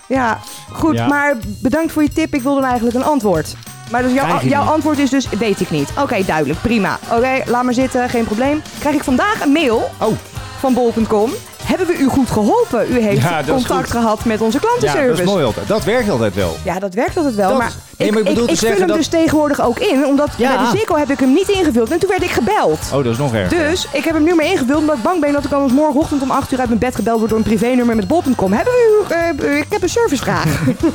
C: Ja, goed,
A: Ja.
C: maar bedankt voor je tip. Ik wilde eigenlijk een antwoord. Maar dus jouw,
A: Krijg je
C: jouw
A: niet.
C: antwoord is dus weet ik niet. Oké, duidelijk, prima. Oké, laat maar zitten, geen probleem. Krijg ik vandaag een mail
A: Oh,
C: van bol.com. Hebben we u goed geholpen? U heeft
A: Ja, dat is
C: contact
A: goed.
C: gehad met onze
A: ja,
C: klantenservice.
A: dat is mooi altijd. Dat werkt altijd wel.
C: Ja, dat werkt altijd wel.
A: Dat
C: maar
A: is- Nee, maar ik bedoel
C: ik,
A: te
C: vul
A: zeggen
C: hem
A: dat-
C: dus tegenwoordig ook in. Omdat
A: Ja.
C: bij de Ziggo heb ik hem niet ingevuld. En toen werd ik gebeld.
A: Oh, dat is nog erger.
C: Dus ik heb hem nu maar ingevuld omdat ik bang ben dat ik anders morgenochtend om 8 uur uit mijn bed gebeld word door een privénummer met bol.com. Hebben we u, eh, ik heb een servicevraag.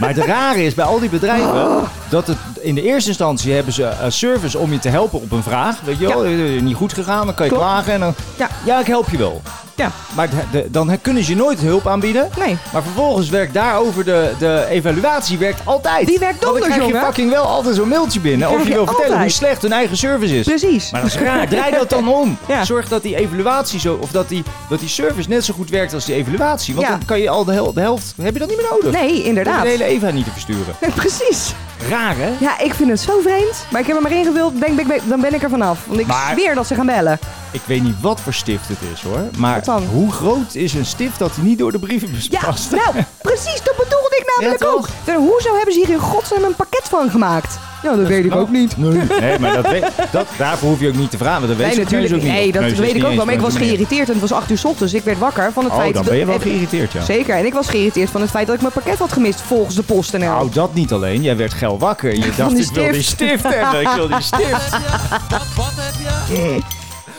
A: Maar het rare is bij al die
C: Oh.
A: bedrijven dat het in de eerste instantie hebben ze een service om je te helpen op een vraag. Weet je wel, Eh, niet goed gegaan, dan kan je
C: Klopt.
A: klagen en dan.
C: Ja.
A: ik help je wel.
C: Ja.
A: Maar de- de- dan kunnen ze je nooit hulp aanbieden.
C: nee.
A: Maar vervolgens werkt daarover de, de evaluatie werkt altijd.
C: Die werkt
A: Want dan
C: donders,
A: krijg je
C: jongen.
A: fucking wel altijd zo'n mailtje binnen.
C: Die
A: Of je
C: krijg
A: wil
C: je
A: vertellen hoe
C: altijd.
A: slecht hun eigen service is.
C: Precies.
A: Maar dat is raar. Draai dat dan om.
C: Ja.
A: Zorg dat die evaluatie zo. Of dat die, dat die service net zo goed werkt als die evaluatie. Want
C: Ja.
A: dan kan je al de, hel- de helft. Heb je dat niet meer nodig?
C: Nee,
A: Hoef
C: inderdaad.
A: je de hele Eva niet te versturen.
C: Nee, precies.
A: Raar, hè?
C: Ja, ik vind het zo vreemd. Maar ik heb hem maar ingevuld. Denk, denk, denk, dan ben ik er vanaf. Want ik
A: Maar-
C: zweer dat ze gaan bellen.
A: Ik weet niet wat voor stift het is, hoor. Maar
C: Wat dan?
A: hoe groot is een stift dat niet door de brievenbus
C: Ja,
A: past?
C: nou, precies, dat bedoelde ik namelijk
A: Ja, toch?
C: ook. Ver- Hoezo hebben ze hier in godsnaam een pakket van gemaakt? Ja, dat, weet ik ook niet.
A: Nee, nee maar dat weet, dat, daarvoor hoef je ook niet te vragen. want Dat weet
C: Nee,
A: je
C: natuurlijk
A: ook
C: niet.
A: niet.
C: Nee, dat
A: ze is
C: weet ik
A: niet
C: ook wel.
A: eens
C: Maar ik
A: met
C: was
A: de meneer.
C: geïrriteerd en het was 8 uur 's ochtends. Ik werd wakker van het
A: Oh,
C: feit...
A: dan ben je wel
C: dat-
A: geïrriteerd, ja.
C: Zeker, en ik was geïrriteerd van het feit dat ik mijn pakket had gemist volgens de PostNL.
A: Nou, dat niet alleen. Jij werd geil wakker en je dacht,
C: die
A: ik wil die
C: stift.
A: stift hebben. Ik wil die stift.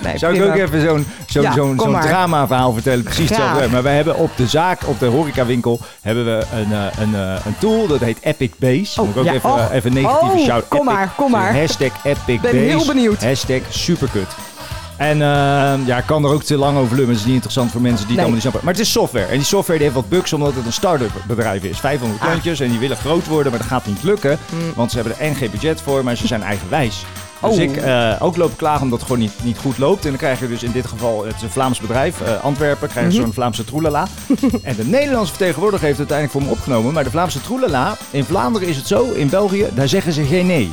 C: nee,
A: Zou ik
C: prima.
A: ook even zo'n zo'n
C: Ja,
A: zo'n
C: kom
A: zo'n
C: maar.
A: drama-verhaal vertellen? Precies
C: Graag.
A: hetzelfde. Maar wij hebben op de zaak, op de horecawinkel, hebben we een, eh, een, eh, een tool. Dat heet Epic Base.
C: Oh,
A: Moet ik ook
C: ja,
A: even,
C: oh.
A: eh, even een negatieve
C: Oh,
A: shout.
C: kom
A: Epic.
C: maar, kom maar.
A: Hashtag Epic
C: Ben
A: Base.
C: heel benieuwd.
A: Hashtag superkut. En eh, ja, ik kan er ook te lang over lummen. Het is niet interessant voor mensen die
C: Nee.
A: het allemaal niet snappen. Maar het is software. En die software die heeft wat bugs omdat het een start-up bedrijf is. 500
C: Ah. Mm.
A: klantjes en die willen groot worden, maar dat gaat niet lukken. Want ze hebben er en geen budget voor, maar ze zijn eigenwijs. Dus
C: Oh.
A: ik eh, ook loop klagen omdat het gewoon niet, niet goed loopt. En dan krijg je dus in dit geval, het is een Vlaams bedrijf, eh, Antwerpen, krijg
C: Mhm.
A: je zo'n Vlaamse troelala. en de Nederlandse vertegenwoordiger heeft het uiteindelijk voor me opgenomen. Maar de Vlaamse troelala, in Vlaanderen is het zo, in België, daar zeggen ze geen nee.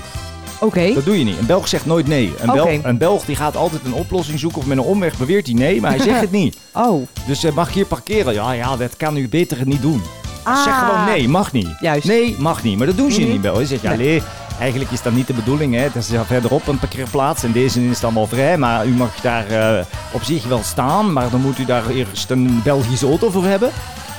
C: Oké,
A: Dat doe je niet. Een Belg zegt nooit nee. Een, Belg,
C: Oké.
A: een Belg die gaat altijd een oplossing zoeken of met een omweg beweert hij nee, maar hij zegt het niet.
C: oh,
A: Dus eh, mag ik hier parkeren? Ja, ja, dat kan u beter niet doen.
C: Ah.
A: Zeg gewoon nee, mag niet.
C: Juist. Mhm.
A: Nee, mag niet. Maar dat doen ze niet wel. Je zegt, ja,
C: Nee.
A: nee, eigenlijk is dat niet de bedoeling. Hè. Het is ja verderop een parkeerplaats en deze is dan wel vrij. Maar u mag daar eh, op zich wel staan, maar dan moet u daar eerst een Belgische auto voor hebben.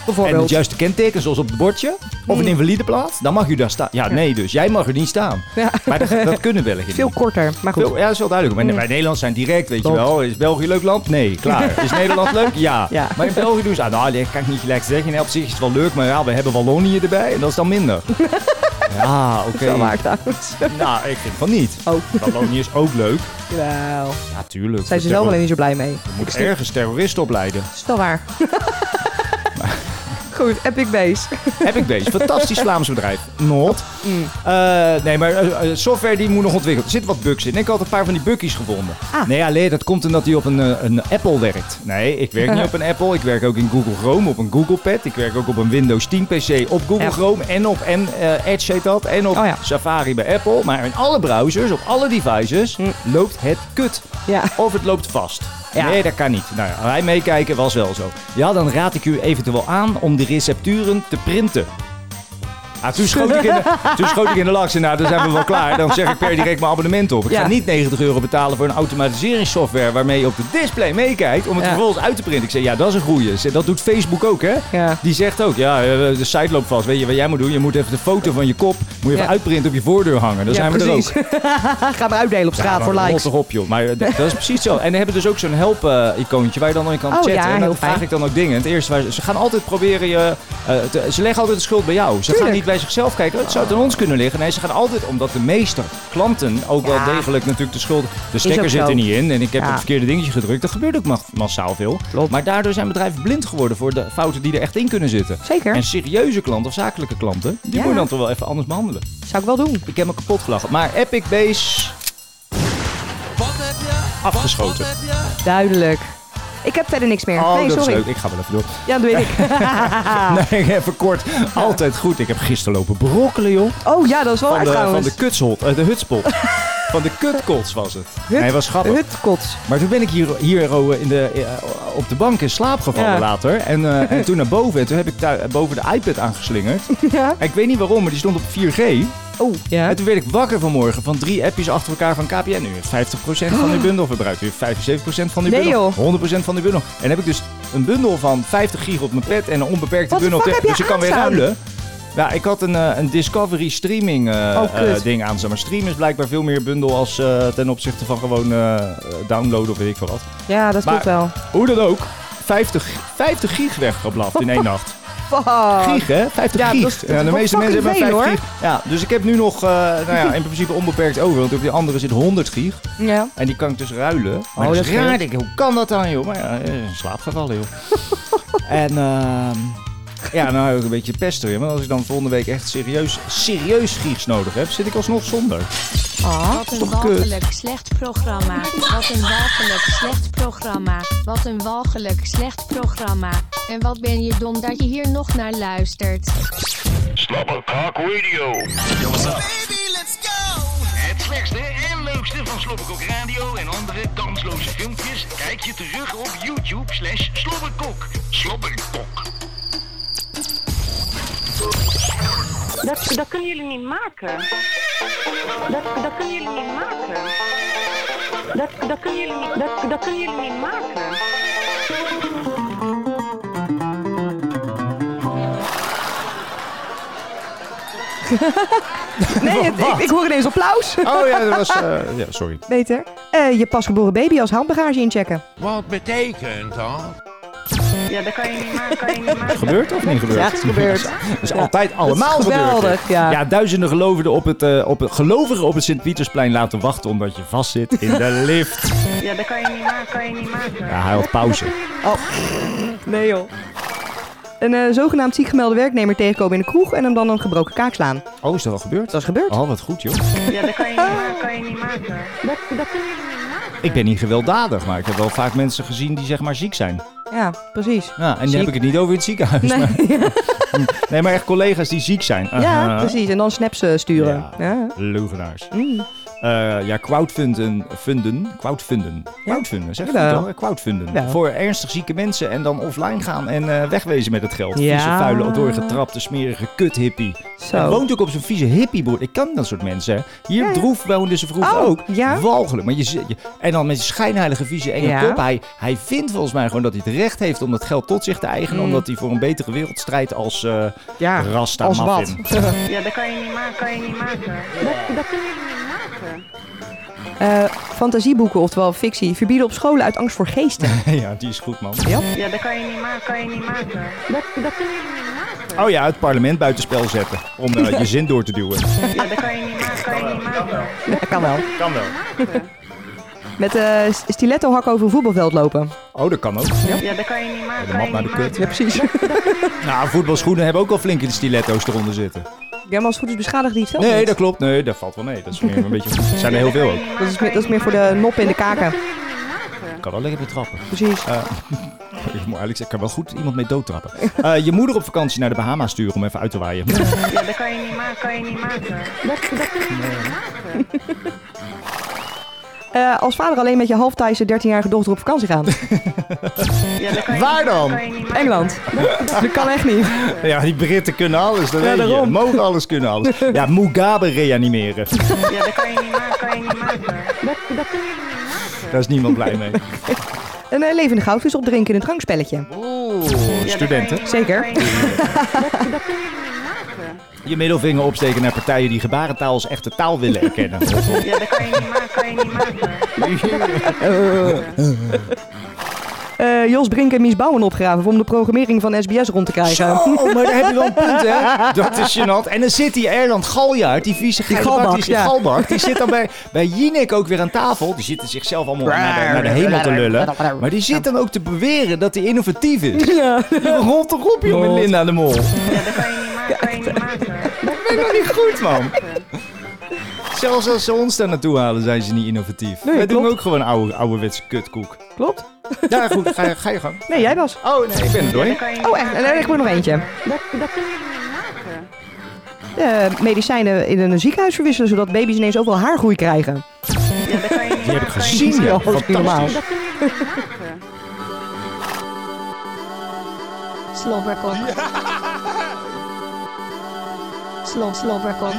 A: En het
C: bijvoorbeeld.
A: juiste kenteken, zoals op het bordje. Of een
C: Mhm.
A: invalideplaats, dan mag u daar staan. Ja, nee dus. Jij mag er niet staan.
C: Ja.
A: Maar dat, dat kunnen Belgen niet.
C: Veel korter, maar goed.
A: Veel- ja, dat is wel duidelijk. Maar wij Nederlanders zijn direct, weet
C: Klopt.
A: je wel. Is België een leuk land? Nee. Klaar. Is Nederland leuk? Ja.
C: Ja.
A: Maar in België doen ze, ah, nou, dat kan ik niet gelijk zeggen. Nee, op zich is het wel leuk, maar ja, we hebben Wallonië erbij en dat is dan minder. ja, oké.
C: Dat maakt uit.
A: Nou, ik vind van niet.
C: Oh,
A: Wallonië is ook leuk.
C: wel.
A: Ja, tuurlijk.
C: Zijn ze
A: Terror-
C: zelf alleen niet zo blij mee.
A: Je moet ergens terroristen opleiden.
C: Dat is wel waar. Goed, Epic Base.
A: Heb ik deze. Fantastisch Vlaams bedrijf. Not.
C: Mm.
A: Eh, nee, maar eh, eh, software die moet nog ontwikkeld. Er zitten wat bugs in. Ik had een paar van die buggies gevonden.
C: Ah.
A: Nee, alleen dat komt omdat hij op een, eh, een Apple werkt. Nee, ik werk niet op een Apple. Ik werk ook in Google Chrome, op een Google Pad. Ik werk ook op een Windows 10 PC op Google
C: Ja.
A: Chrome. En op en, eh, Edge heet dat. En op
C: Oh ja.
A: Safari bij Apple. Maar in alle browsers, op alle devices,
C: Mm.
A: loopt het kut.
C: Ja.
A: Of het loopt vast.
C: Ja.
A: Nee, dat kan niet. Nou ja, wij meekijken was wel zo. Ja, dan raad ik u eventueel aan om die recepturen te printen. Ah, toen, schoot ik in de, toen schoot ik in de laks en nou, dan zijn we wel klaar. Dan zeg ik per direct mijn abonnement op. Ik
C: Ja.
A: ga niet 90 euro betalen voor een automatiseringssoftware waarmee je op het display meekijkt om het
C: Ja.
A: vervolgens uit te printen. Ik zei, ja, dat is een goeie. Ik zei, Dat doet Facebook ook, hè?
C: Ja.
A: Die zegt ook, ja, eh, de site loopt vast. Weet je wat jij moet doen? Je moet even de foto van je kop Moet je even
C: Ja.
A: uitprinten op je voordeur hangen. Dan zijn we er ook.
C: Gaan we uitdelen op straat
A: Ja,
C: voor
A: maar rot
C: likes.
A: Ah, toch op, joh. Maar eh, dat is precies zo. En dan hebben ze dus ook zo'n help-icoontje waar je dan in kan
C: Oh,
A: chatten.
C: ja,
A: en
C: heel
A: dan vraag
C: fijn.
A: ik dan ook dingen. En het eerste, waar ze, ze gaan altijd proberen je... eh, te- ze leggen altijd de schuld bij jou. Ze gaan
C: Tuurlijk.
A: niet bij zichzelf kijken. Het zou het aan ons kunnen liggen. Nee, ze gaan altijd... Omdat de meeste klanten ook
C: Ja.
A: wel degelijk natuurlijk de schuld... De
C: ook
A: stekker
C: zo.
A: zit er niet in. En ik heb
C: Ja.
A: het verkeerde dingetje gedrukt. Dat gebeurt ook ma- massaal veel.
C: Klopt.
A: Maar daardoor zijn bedrijven blind geworden voor de fouten die er echt in kunnen zitten.
C: Zeker.
A: En serieuze klanten of zakelijke klanten... Die
C: Ja.
A: moet je dan toch wel even anders behandelen.
C: Zou ik wel doen.
A: Ik heb me kapot gelachen. Maar Epic Base... Afgeschoten.
C: Duidelijk. Ik heb verder niks meer.
A: Oh,
C: nee,
A: dat is
C: sorry.
A: leuk. Ik ga wel even door.
C: Ja, dat weet ik.
A: Nee, even kort. Altijd goed. Ik heb gisteren lopen brokkelen, joh.
C: Oh ja, dat is wel
A: Van
C: uit
A: de, van
C: trouwens.
A: de kutshot. eh, de hutspot. van de kutkots was het.
C: Hut-
A: Hij was grappig.
C: Hutkots.
A: Maar toen ben ik hier, hier oh, in de, eh, op de bank in slaap gevallen
C: Ja.
A: later. En, eh, en toen naar boven. En toen heb ik daar eh, boven de iPad aangeslingerd.
C: Ja.
A: En ik weet niet waarom, maar die stond op 4G.
C: Oh, ja.
A: En toen werd ik wakker vanmorgen van drie appjes achter elkaar van KPN. Nu heeft 50% van uw bundel verbruikt. U heeft 75% van uw
C: Ah. Nee,
A: bundel. 100% van uw bundel. En heb ik dus een bundel van 50 gig op mijn pet en een onbeperkte
C: Wat de
A: bundel. op
C: fuck
A: de-
C: heb je
A: dus ik kan weer
C: aanstaan?
A: ruilen. Ja, ik had een, eh, een Discovery streaming eh,
C: Oh,
A: eh,
C: kut.
A: ding aan. Maar stream is blijkbaar veel meer bundel als eh, ten opzichte van gewoon eh, downloaden of weet ik veel wat.
C: ja, dat klopt
A: Maar-
C: wel.
A: Hoe dan ook, 50, 50 gig weggeblaft in één nacht.
C: Fuck.
A: Gig, hè? 50
C: Ja,
A: gig.
C: dat is- dat
A: Ja,
C: is
A: de
C: wel
A: meeste mensen hebben
C: fucking
A: 50
C: veel,
A: gig. Ja, dus ik heb nu nog eh, nou ja, in principe onbeperkt over. Want op die andere zit 100 gig.
C: Ja.
A: En die kan ik dus ruilen. Maar dat
C: Oh,
A: is
C: dat
A: raar.
C: scheelt.
A: Denk, ik, hoe kan dat dan, joh? Maar ja, eh, in slaap gevallen, joh. en ehm ja, nou heb ik een beetje pesten weer. Maar als ik dan volgende week echt serieus, serieus gigs nodig heb, zit ik alsnog zonder.
C: Ah.
D: Wat een
A: toch kut?
D: walgelijk slecht programma. Wat een walgelijk slecht programma. Wat een walgelijk slecht programma. En wat ben je dom dat je hier nog naar luistert.
B: Slobbercock Radio. Yo, what's up? Baby, let's go! Het slechtste en leukste van Slobbercock Radio en andere kansloze filmpjes kijk je terug op YouTube slash Slobbercock. Slobbercock.
H: Dat, dat kunnen jullie niet maken. Dat, dat kunnen jullie niet maken. Dat, dat, kunnen jullie niet, dat, dat kunnen jullie niet maken.
C: Nee, het- ik, ik hoor ineens applaus.
A: Oh ja, dat was... eh, ja, sorry.
C: Beter. Eh, je pasgeboren baby als handbagage inchecken.
I: Wat betekent dat?
H: Ja, dat kan je niet maken. Kan je niet maken.
A: Gebeurd of niet gebeurd?
C: Ja, het is gebeurd.
A: Dat is
C: Ja.
A: altijd allemaal
C: Dat is
A: gebeurd.
C: geweldig, ja.
A: duizenden gelovigen op het, eh, op het, gelovigen op het Sint-Pietersplein laten wachten omdat je vast zit in de lift.
H: Ja, dat kan je niet maken. Kan je niet maken.
A: Ja, hij had pauze.
C: Nee joh. Een eh, zogenaamd ziekgemelde werknemer tegenkomen in de kroeg en hem dan een gebroken kaak slaan.
A: Oh, is dat wel gebeurd?
C: Dat is gebeurd.
A: Oh, wat goed, joh.
H: Ja, dat kan je niet maken. Kan je niet maken. Dat, dat kunnen jullie niet maken.
A: Ik ben niet gewelddadig, maar ik heb wel vaak mensen gezien die zeg maar ziek zijn.
C: Ja, precies.
A: Ja, en
C: Ziek.
A: dan heb ik het niet over in het ziekenhuis.
C: Nee.
A: Maar, nee, maar echt collega's die ziek zijn.
C: ja,
A: Eh,
C: precies. En dan snaps eh, sturen.
A: Ja.
C: Ja.
A: Leugenaars.
C: Mm.
A: Eh, ja, crowdfunden. Funden, crowdfunden. Crowdfunden, zeg je
C: Jawel.
A: dat wel? Crowdfunden.
C: Ja.
A: Voor ernstig zieke mensen en dan offline gaan en eh, wegwezen met het geld.
C: Ja.
A: Vieze, vuile, doorgetrapte, smerige kut-hippie. En
C: Zo.
A: woont ook op zo'n vieze hippiebroer. Ik kan dat soort mensen. hè. Hier
C: Ja.
A: droef woonden ze vroeger
C: Oh,
A: ook.
C: ja?
A: Walgelijk. Maar je, zit- je, en dan met die schijnheilige vieze enge
C: Ja.
A: kop. Hij, hij vindt volgens mij gewoon dat hij het recht heeft om dat geld tot zich te eigenen.
C: Mm.
A: Omdat hij voor een betere wereld strijdt als eh
C: Ja,
A: Rasta
C: Ah, als wat.
A: Muffin.
H: Ja, dat kan je niet maken. Kan je niet maken. Dat, dat kunnen jullie niet maken.
C: Eh, fantasieboeken, oftewel fictie, verbieden op scholen uit angst voor geesten.
A: ja, die is goed man.
H: Ja, dat kan je niet maken. Kan je niet maken. Dat, dat kunnen jullie niet maken.
A: Oh ja, het parlement buitenspel zetten. Om eh, je zin door te duwen.
H: Ja, dat kan je niet maken. Kan je niet maken.
C: Ja, kan wel.
A: Kan wel.
C: Met eh stiletto hakken over een voetbalveld lopen.
A: Oh, dat kan ook.
H: Ja, dat kan je niet maken.
A: De
H: Kan
A: mat
H: je
A: naar
H: niet
A: de kut.
H: maken.
C: precies.
A: Nou, voetbalschoenen hebben ook al flink in de stiletto's eronder zitten.
C: Ja, maar als het goed is beschadigd die het veld
A: Nee,
C: niet.
A: dat klopt. Nee, dat valt wel mee. Dat is meer een beetje... Er zijn er heel veel ook.
C: Dat is, meer, dat is meer voor de noppen in de kaken.
A: Kan wel lekker betrappen.
C: Precies.
A: Ik moet eigenlijk zeggen, ik kan wel goed iemand mee doodtrappen. Eh, je moeder op vakantie naar de Bahama sturen om even uit te waaien.
H: Ja, dat kan je niet maken. Kan je niet maken. Dat, dat kunnen jullie niet maken.
C: Eh, als vader alleen met je halftijse 13-jarige dochter op vakantie gaan.
H: Ja, dat kan je
A: Waar
H: niet maken,
A: dan?
H: kan je niet maken.
C: Engeland. Dat kan echt niet.
A: Ja, die Britten kunnen alles. Dat
C: Ja,
A: weet je.
C: daarom.
A: Mogen alles, kunnen alles. Ja, Mugabe reanimeren.
H: Ja, dat kan je niet maken. Kan je niet maken. Dat, dat kunnen jullie niet maken.
A: Daar is niemand blij mee.
C: Een eh, levende goudvis opdrinken in een drankspelletje.
A: Oeh,
H: Ja, dat kan je
A: studenten.
H: niet maken,
C: Zeker.
H: kan je niet maken. Dat, dat kunnen jullie niet maken. maken.
A: Je middelvinger opsteken naar partijen die gebarentaal als echte taal willen erkennen.
H: Ja, dat kan je niet maken. Kan je niet maken.
C: Eh, Jos Brink en Mies Bouwen opgraven om de programmering van SBS rond te krijgen.
A: Oh, maar daar heb je wel een punt, hè? Dat is gênant. En dan zit die Erland Galjaard, die vieze geile
C: galbak,
A: bak, die, zit-
C: ja.
A: galbak, die zit dan bij, bij Jinek ook weer aan tafel. Die zitten zichzelf allemaal naar de, naar de hemel te lullen. Maar die zit dan ook te beweren dat hij innovatief is.
C: Ja.
A: Rond toch op, joh, met Linda de Mol.
H: Ja, dat kan je niet maken. Kan je niet maken.
A: Dat vind ik nog niet goed, man. Zelfs als ze ons daar naartoe halen, zijn ze niet innovatief.
C: Nee,
A: Wij doen
C: klopt.
A: ook gewoon oude, ouderwetse kutkoek.
C: Klopt?
A: Ja, goed, ga je, ga je gang.
C: Nee, jij was.
A: Oh, nee, ik ben er doorheen.
H: Kan je niet
C: Oh, echt? En er ligt er nog eentje.
H: Dat, dat kunnen jullie niet maken.
C: Eh, medicijnen in een ziekenhuis verwisselen zodat baby's ineens ook wel haargroei krijgen.
H: Ja, dat kan je niet
A: Die heb ik
H: maken.
A: gezien, ja.
C: Ja, dat is niet normaal.
A: Fantastisch.
H: Dat kunnen jullie niet maken.
D: Slobberkok. Slob slobberkok.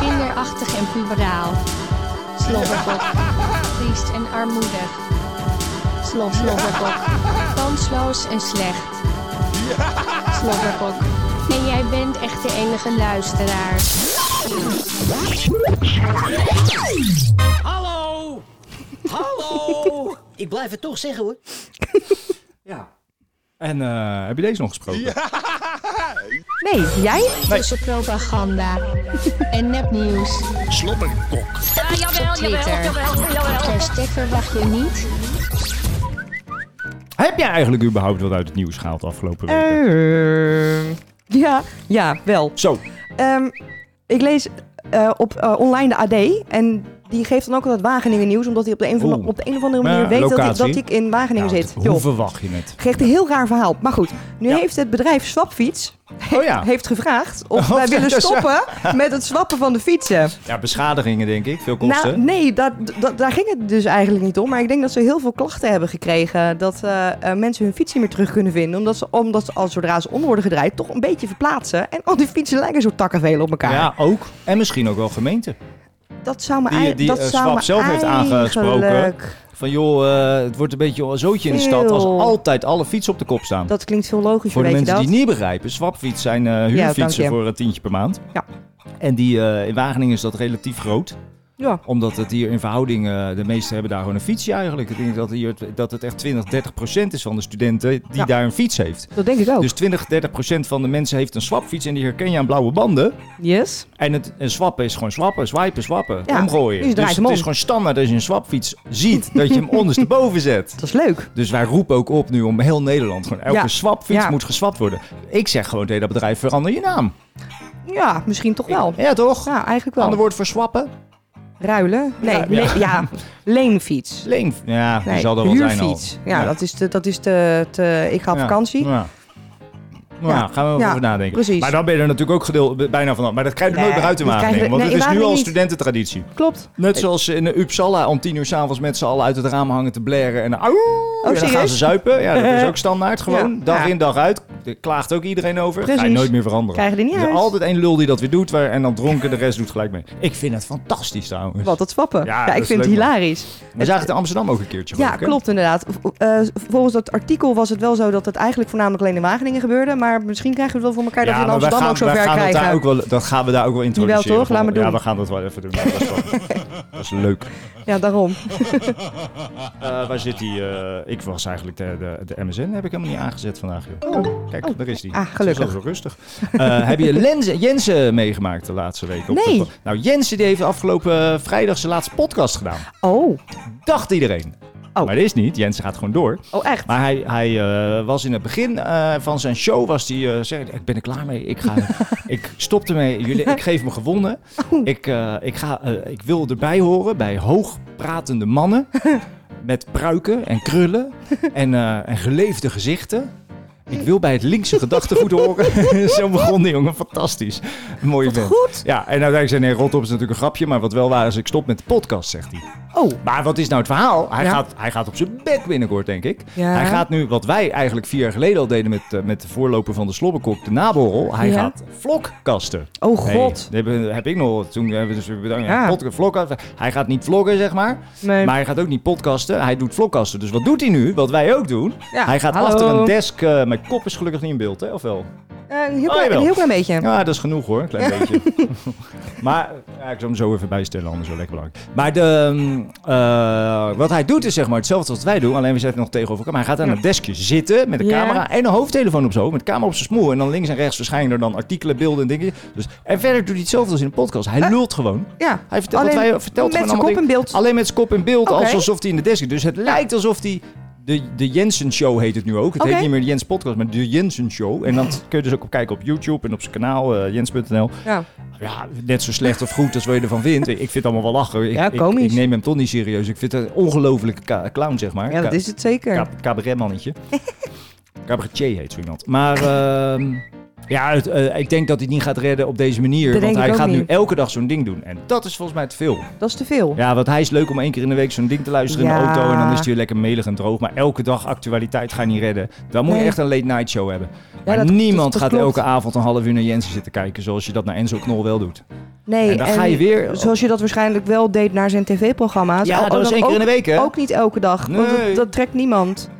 D: Kinderachtig en puberaal. Slobberkok. Triest en armoedig. Slob slobberkok. Kansloos en slecht. Slobberkok. Nee, jij bent echt de enige luisteraar.
J: Hallo! Hallo! Ik blijf het toch zeggen hoor.
A: Ja. En eh, heb je deze nog gesproken?
C: Nee, jij?
D: Tussen propaganda en nepnieuws.
B: Slobberkok.
E: Ja, jawel,
D: Twitter. Hashtag verwacht je niet.
A: Heb jij eigenlijk überhaupt wat uit het nieuws gehaald de afgelopen weken?
H: Ehm.
C: Eh, ja, ja, wel.
A: Zo,
C: Ehm, ik lees eh, op eh, online de AD en die geeft dan ook altijd Wageningen nieuws, omdat hij op de een, van,
A: Oeh.
C: op de een of andere manier
A: Ja,
C: weet dat ik,
A: locatie.
C: dat ik in Wageningen
A: Ja,
C: zit.
A: nou, hoe
C: Joh,
A: verwacht je het?
C: geeft een heel raar verhaal. Maar goed, nu
A: Ja.
C: heeft het bedrijf Swapfiets
A: Oh ja.
C: heeft gevraagd of
A: Of
C: wij
A: zij
C: willen
A: dus-
C: stoppen met het swappen van de fietsen.
A: Ja, beschadigingen denk ik, veel kosten.
C: Nou, nee, dat, dat, daar ging het dus eigenlijk niet om. Maar ik denk dat ze heel veel klachten hebben gekregen. Dat eh, eh, mensen hun fiets niet meer terug kunnen vinden. Omdat ze, omdat ze al zodra ze om worden gedraaid, toch een beetje verplaatsen. En al die fietsen lijken zo takkenveel op elkaar.
A: ja, ook. En misschien ook wel gemeente.
C: Dat zou me
A: Die-
C: ei-
A: die,
C: dat
A: eh,
C: zou
A: Swap
C: me
A: zelf heeft aangesproken.
C: eigenlijk-
A: Van joh, eh, het wordt een beetje een zootje in de
C: Eeuw.
A: stad als altijd alle fietsen op de kop staan.
C: Dat klinkt veel logischer,
A: voor de
C: weet
A: mensen
C: je dat?
A: die niet begrijpen, swapfiets zijn eh,
C: dank
A: huurfietsen
C: je.
A: voor een tientje per maand.
C: Ja.
A: En die, eh, in Wageningen is dat relatief groot.
C: Ja.
A: Omdat het hier in verhouding, eh, de meesten hebben daar gewoon een fietsje eigenlijk. Ik denk dat, hier, dat het echt 20, 30 procent is van de studenten die
C: Ja.
A: daar een fiets heeft.
C: Dat denk ik ook.
A: Dus 20, 30 procent van de mensen heeft een swapfiets en die herken je aan blauwe banden.
C: yes.
A: En het en swappen is gewoon swappen, swipen, swappen,
C: Ja,
A: omgooien.
C: dus je draait hem
A: het
C: om.
A: is gewoon standaard als je een swapfiets ziet, dat je hem ondersteboven zet.
C: Dat is leuk.
A: Dus wij roepen ook op nu om heel Nederland. Gewoon elke
C: Ja.
A: swapfiets
C: Ja.
A: moet geswapt worden. Ik zeg gewoon tegen dat bedrijf, verander je naam.
C: Ja, misschien toch wel.
A: Ja, toch?
C: Ja, eigenlijk wel.
A: Ander woord voor swappen?
C: Ruilen? Nee,
A: Ja,
C: ja,
A: ja.
C: ja. leenfiets.
A: Leen. Ja,
C: Nee,
A: die zal er wel zijn al.
C: huurfiets. Ja, dat is te, dat is te, te ik ga op
A: Ja.
C: vakantie.
A: Ja. Nou,
C: Ja.
A: gaan we wel
C: Ja,
A: over nadenken.
C: precies.
A: Maar dan ben je er natuurlijk ook gedeel, bijna vanaf. Maar dat krijg je
C: Nee,
A: nooit meer uit te
C: dat
A: maken.
C: krijg je-
A: want
C: nee,
A: het is
C: in
A: nu al
C: Wageningen niet.
A: studententraditie.
C: Klopt.
A: Net zoals ze in de Uppsala om tien uur s'avonds met z'n allen uit het raam hangen te blaren. En, auw, en dan
C: Oh, serieus?
A: gaan ze zuipen. Ja, dat is ook standaard gewoon.
C: Ja.
A: Dag
C: Ja.
A: in, dag uit. Daar klaagt ook iedereen over. Ga je
C: Precies.
A: nooit meer veranderen.
C: Krijgen die niet
A: er is
C: uit.
A: altijd één lul die dat weer doet. waar- En dan dronken, de rest doet gelijk mee. Ik vind het fantastisch trouwens.
C: Wat, dat swappen.
A: Ja,
C: Ja,
A: dat
C: ik
A: is
C: vind het
A: leuk, man.
C: hilarisch.
A: We zagen het in Amsterdam ook een keertje.
C: Ja,
A: geloof ik, hè?
C: klopt inderdaad. V- eh, volgens dat artikel was het wel zo dat het eigenlijk voornamelijk alleen in Wageningen gebeurde. Maar misschien krijgen we het wel voor elkaar dat we in
A: maar wij
C: Amsterdam
A: gaan-
C: ook zo
A: wij
C: ver
A: gaan het
C: krijgen.
A: Daar ook wel, dat gaan we daar ook wel introduceren.
C: toch? Laat maar
A: Ja,
C: doen.
A: we gaan dat wel even doen. Dat is, wel- dat is leuk.
C: Ja, daarom.
A: Eh, waar zit die? eh, ik was eigenlijk de, de, de MSN heb ik helemaal niet aangezet vandaag. Joh. Kijk, daar is die.
C: Ah, gelukkig.
A: Zo, zo rustig. Eh, heb je Lenze, Jensen meegemaakt de laatste week? Op
C: Nee.
A: de- nou, Jensen die heeft afgelopen eh, vrijdag zijn laatste podcast gedaan.
C: Oh,
A: Dacht iedereen.
C: Oh.
A: Maar dat is niet. Jensen gaat gewoon door.
C: oh echt?
A: Maar hij, hij eh, was in het begin eh, van zijn show, was hij, eh, zei, ik ben er klaar mee, ik, ga, ik stop ermee, Jullie, ik geef me gewonnen. Ik, eh, ik, ga, eh, ik wil erbij horen bij hoogpratende mannen met pruiken en krullen en, eh, en geleefde gezichten. Ik wil bij het linkse gedachtegoed horen. Zo begon die jongen, fantastisch. Mooi vent.
C: Goed.
A: Ja, en uiteindelijk zei hij, nee, rot op is natuurlijk een grapje, maar wat wel waar is, ik stop met de podcast, zegt hij.
C: Oh,
A: Maar wat is nou het verhaal? Hij,
C: Ja.
A: gaat, hij gaat op zijn bek binnenkort, denk ik.
C: Ja.
A: Hij gaat nu, wat wij eigenlijk vier jaar geleden al deden met, eh, met de voorloper van de slobberkok, de naborrel. Hij
C: Ja.
A: gaat vlogkasten.
C: oh
A: Hey,
C: god.
A: dat heb, heb ik nog. Toen hebben we dus weer bedankt.
C: Ja.
A: Podcast, vlogcasten. Hij gaat niet vloggen, zeg maar.
C: Nee.
A: Maar hij gaat ook niet podcasten. Hij doet vlogcasten. Dus wat doet hij nu? Wat wij ook doen.
C: Ja,
A: Hij gaat
C: hallo.
A: achter een desk. eh, mijn kop is gelukkig niet in beeld, hè? Of wel?
C: Eh, een, heel
A: Oh,
C: klein,
A: jawel.
C: een heel klein beetje.
A: Ja, dat is genoeg hoor, een klein beetje. maar ja, ik zal hem zo even bijstellen, anders is het wel lekker belangrijk. Maar de, ehm, eh, wat hij doet is zeg maar hetzelfde wat wij doen, alleen we zetten nog tegenover elkaar. Maar hij gaat aan
K: Ja.
A: het deskje zitten met een
K: Ja.
A: camera en een hoofdtelefoon op zijn hoofd, met de camera op zijn smoel. En dan links en rechts verschijnen er dan artikelen, beelden en dingen. Dus, en verder doet hij hetzelfde als in de podcast. Hij lult gewoon.
C: Ja,
A: Hij vertelt,
C: alleen
A: wat wij, vertelt
C: met
A: gewoon
C: zijn
A: allemaal
C: kop in
A: dingen.
C: beeld.
A: Alleen met zijn kop in beeld,
C: Oké.
A: als alsof hij in de desk zit. Dus het lijkt alsof hij... De, de Jensen Show heet het nu ook. Het
C: Oké.
A: heet niet meer de Jens Podcast, maar de Jensen Show. En dat kun je dus ook op kijken op YouTube en op zijn kanaal, eh, jens.nl.
C: Ja.
A: Ja, net zo slecht of goed als wat je ervan vindt. Ik vind het allemaal wel lachen. Ik,
C: Ja,
A: ik-
C: komisch.
A: Ik, neem hem toch niet serieus. Ik vind het een ongelofelijke ka- clown, zeg maar.
C: Ja, dat
A: Ka-
C: is het zeker.
A: ka- cabaretmannetje. Cabaretier heet zo iemand. Maar ehm, ja, het, eh, ik denk dat hij het niet gaat redden op deze manier.
C: Dat
A: want
C: denk ik
A: hij
C: ook
A: gaat nu
C: niet.
A: elke dag zo'n ding doen. En dat is volgens mij te veel.
C: Dat is te veel.
A: Ja, want hij is leuk om één keer in de week zo'n ding te luisteren in
C: Ja.
A: de auto. En dan is hij weer lekker melig en droog. Maar elke dag actualiteit ga je niet redden. Dan moet je
C: Nee.
A: echt een late night show hebben. maar
C: dat-
A: niemand
C: dat- dat
A: gaat
C: klopt.
A: elke avond een half uur naar Jensen zitten kijken. Zoals je dat naar Enzo Knol wel doet.
C: Nee,
A: En dan ga je weer-
C: Zoals je dat waarschijnlijk wel deed naar zijn tv-programma's.
A: Ja,
C: Al-
A: dat
C: al
A: was
C: dan
A: één keer in
C: ook-
A: de week, hè?
C: Ook niet elke dag, want
A: Nee.
C: dat, dat trekt niemand.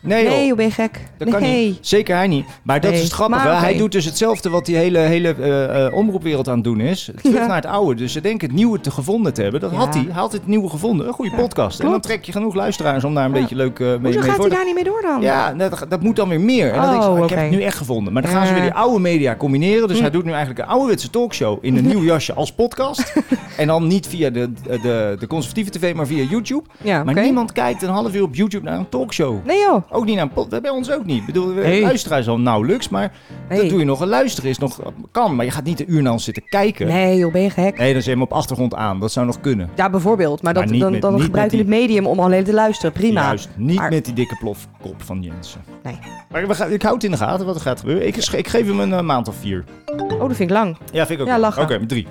A: Nee, joh.
C: nee joh, ben je gek?
A: Dat kan
C: nee.
A: niet. Zeker hij niet. Maar dat
C: Nee.
A: is het grappige.
C: Maar oké.
A: Hij doet dus hetzelfde wat die hele, hele eh, eh, omroepwereld aan het doen is. Terug
C: Ja.
A: naar het oude. Dus ze denken het nieuwe te gevonden te hebben. Dat
C: Ja.
A: had hij. Hij had het nieuwe gevonden. Een goede podcast. En dan
C: klopt.
A: trek je genoeg luisteraars om daar een beetje leuk eh, mee,
C: Hoezo
A: mee
C: gaat
A: voor
C: hij
A: te
C: daar niet mee door dan?
A: Ja, dat, dat moet dan weer meer. En dan
C: Oh,
A: denk ik, ik
C: oké. Hm.
A: heb het nu echt gevonden. Maar dan gaan ze weer die oude media combineren. Dus hij doet nu eigenlijk een ouderwetse talkshow in een nieuw jasje als podcast. en dan niet via de, de, de conservatieve tv, maar via YouTube.
C: Ja,
A: Maar
C: oké.
A: niemand kijkt een half uur op YouTube naar een talkshow.
C: Nee joh.
A: Ook niet naar een podcast. Dat bij ons ook niet. Ik bedoel, we
C: Nee.
A: luisteren is al nauwelijks. Maar
C: Nee.
A: dat doe je nog. Een luisteren is nog... Kan, maar je gaat niet een uur naar ons zitten kijken.
C: Nee joh, ben je gek?
A: Nee, dan zet je hem op achtergrond aan. Dat zou nog kunnen.
C: Ja, bijvoorbeeld. Maar, dat,
A: Maar niet
C: dan,
A: met-
C: dan
A: niet
C: gebruik je
A: met
C: het medium om alleen te luisteren. Prima.
A: Juist, niet
C: Maar-
A: met die dikke plofkop van Jensen.
C: Nee.
A: Maar we gaan, ik houd het in de gaten wat er gaat gebeuren. Ik, ge- ik geef hem een eh, maand of vier.
C: Oh, dat vind ik lang.
A: Ja, vind ik ook.
C: Ja,
A: wel.
C: lachen.
A: Oké, drie.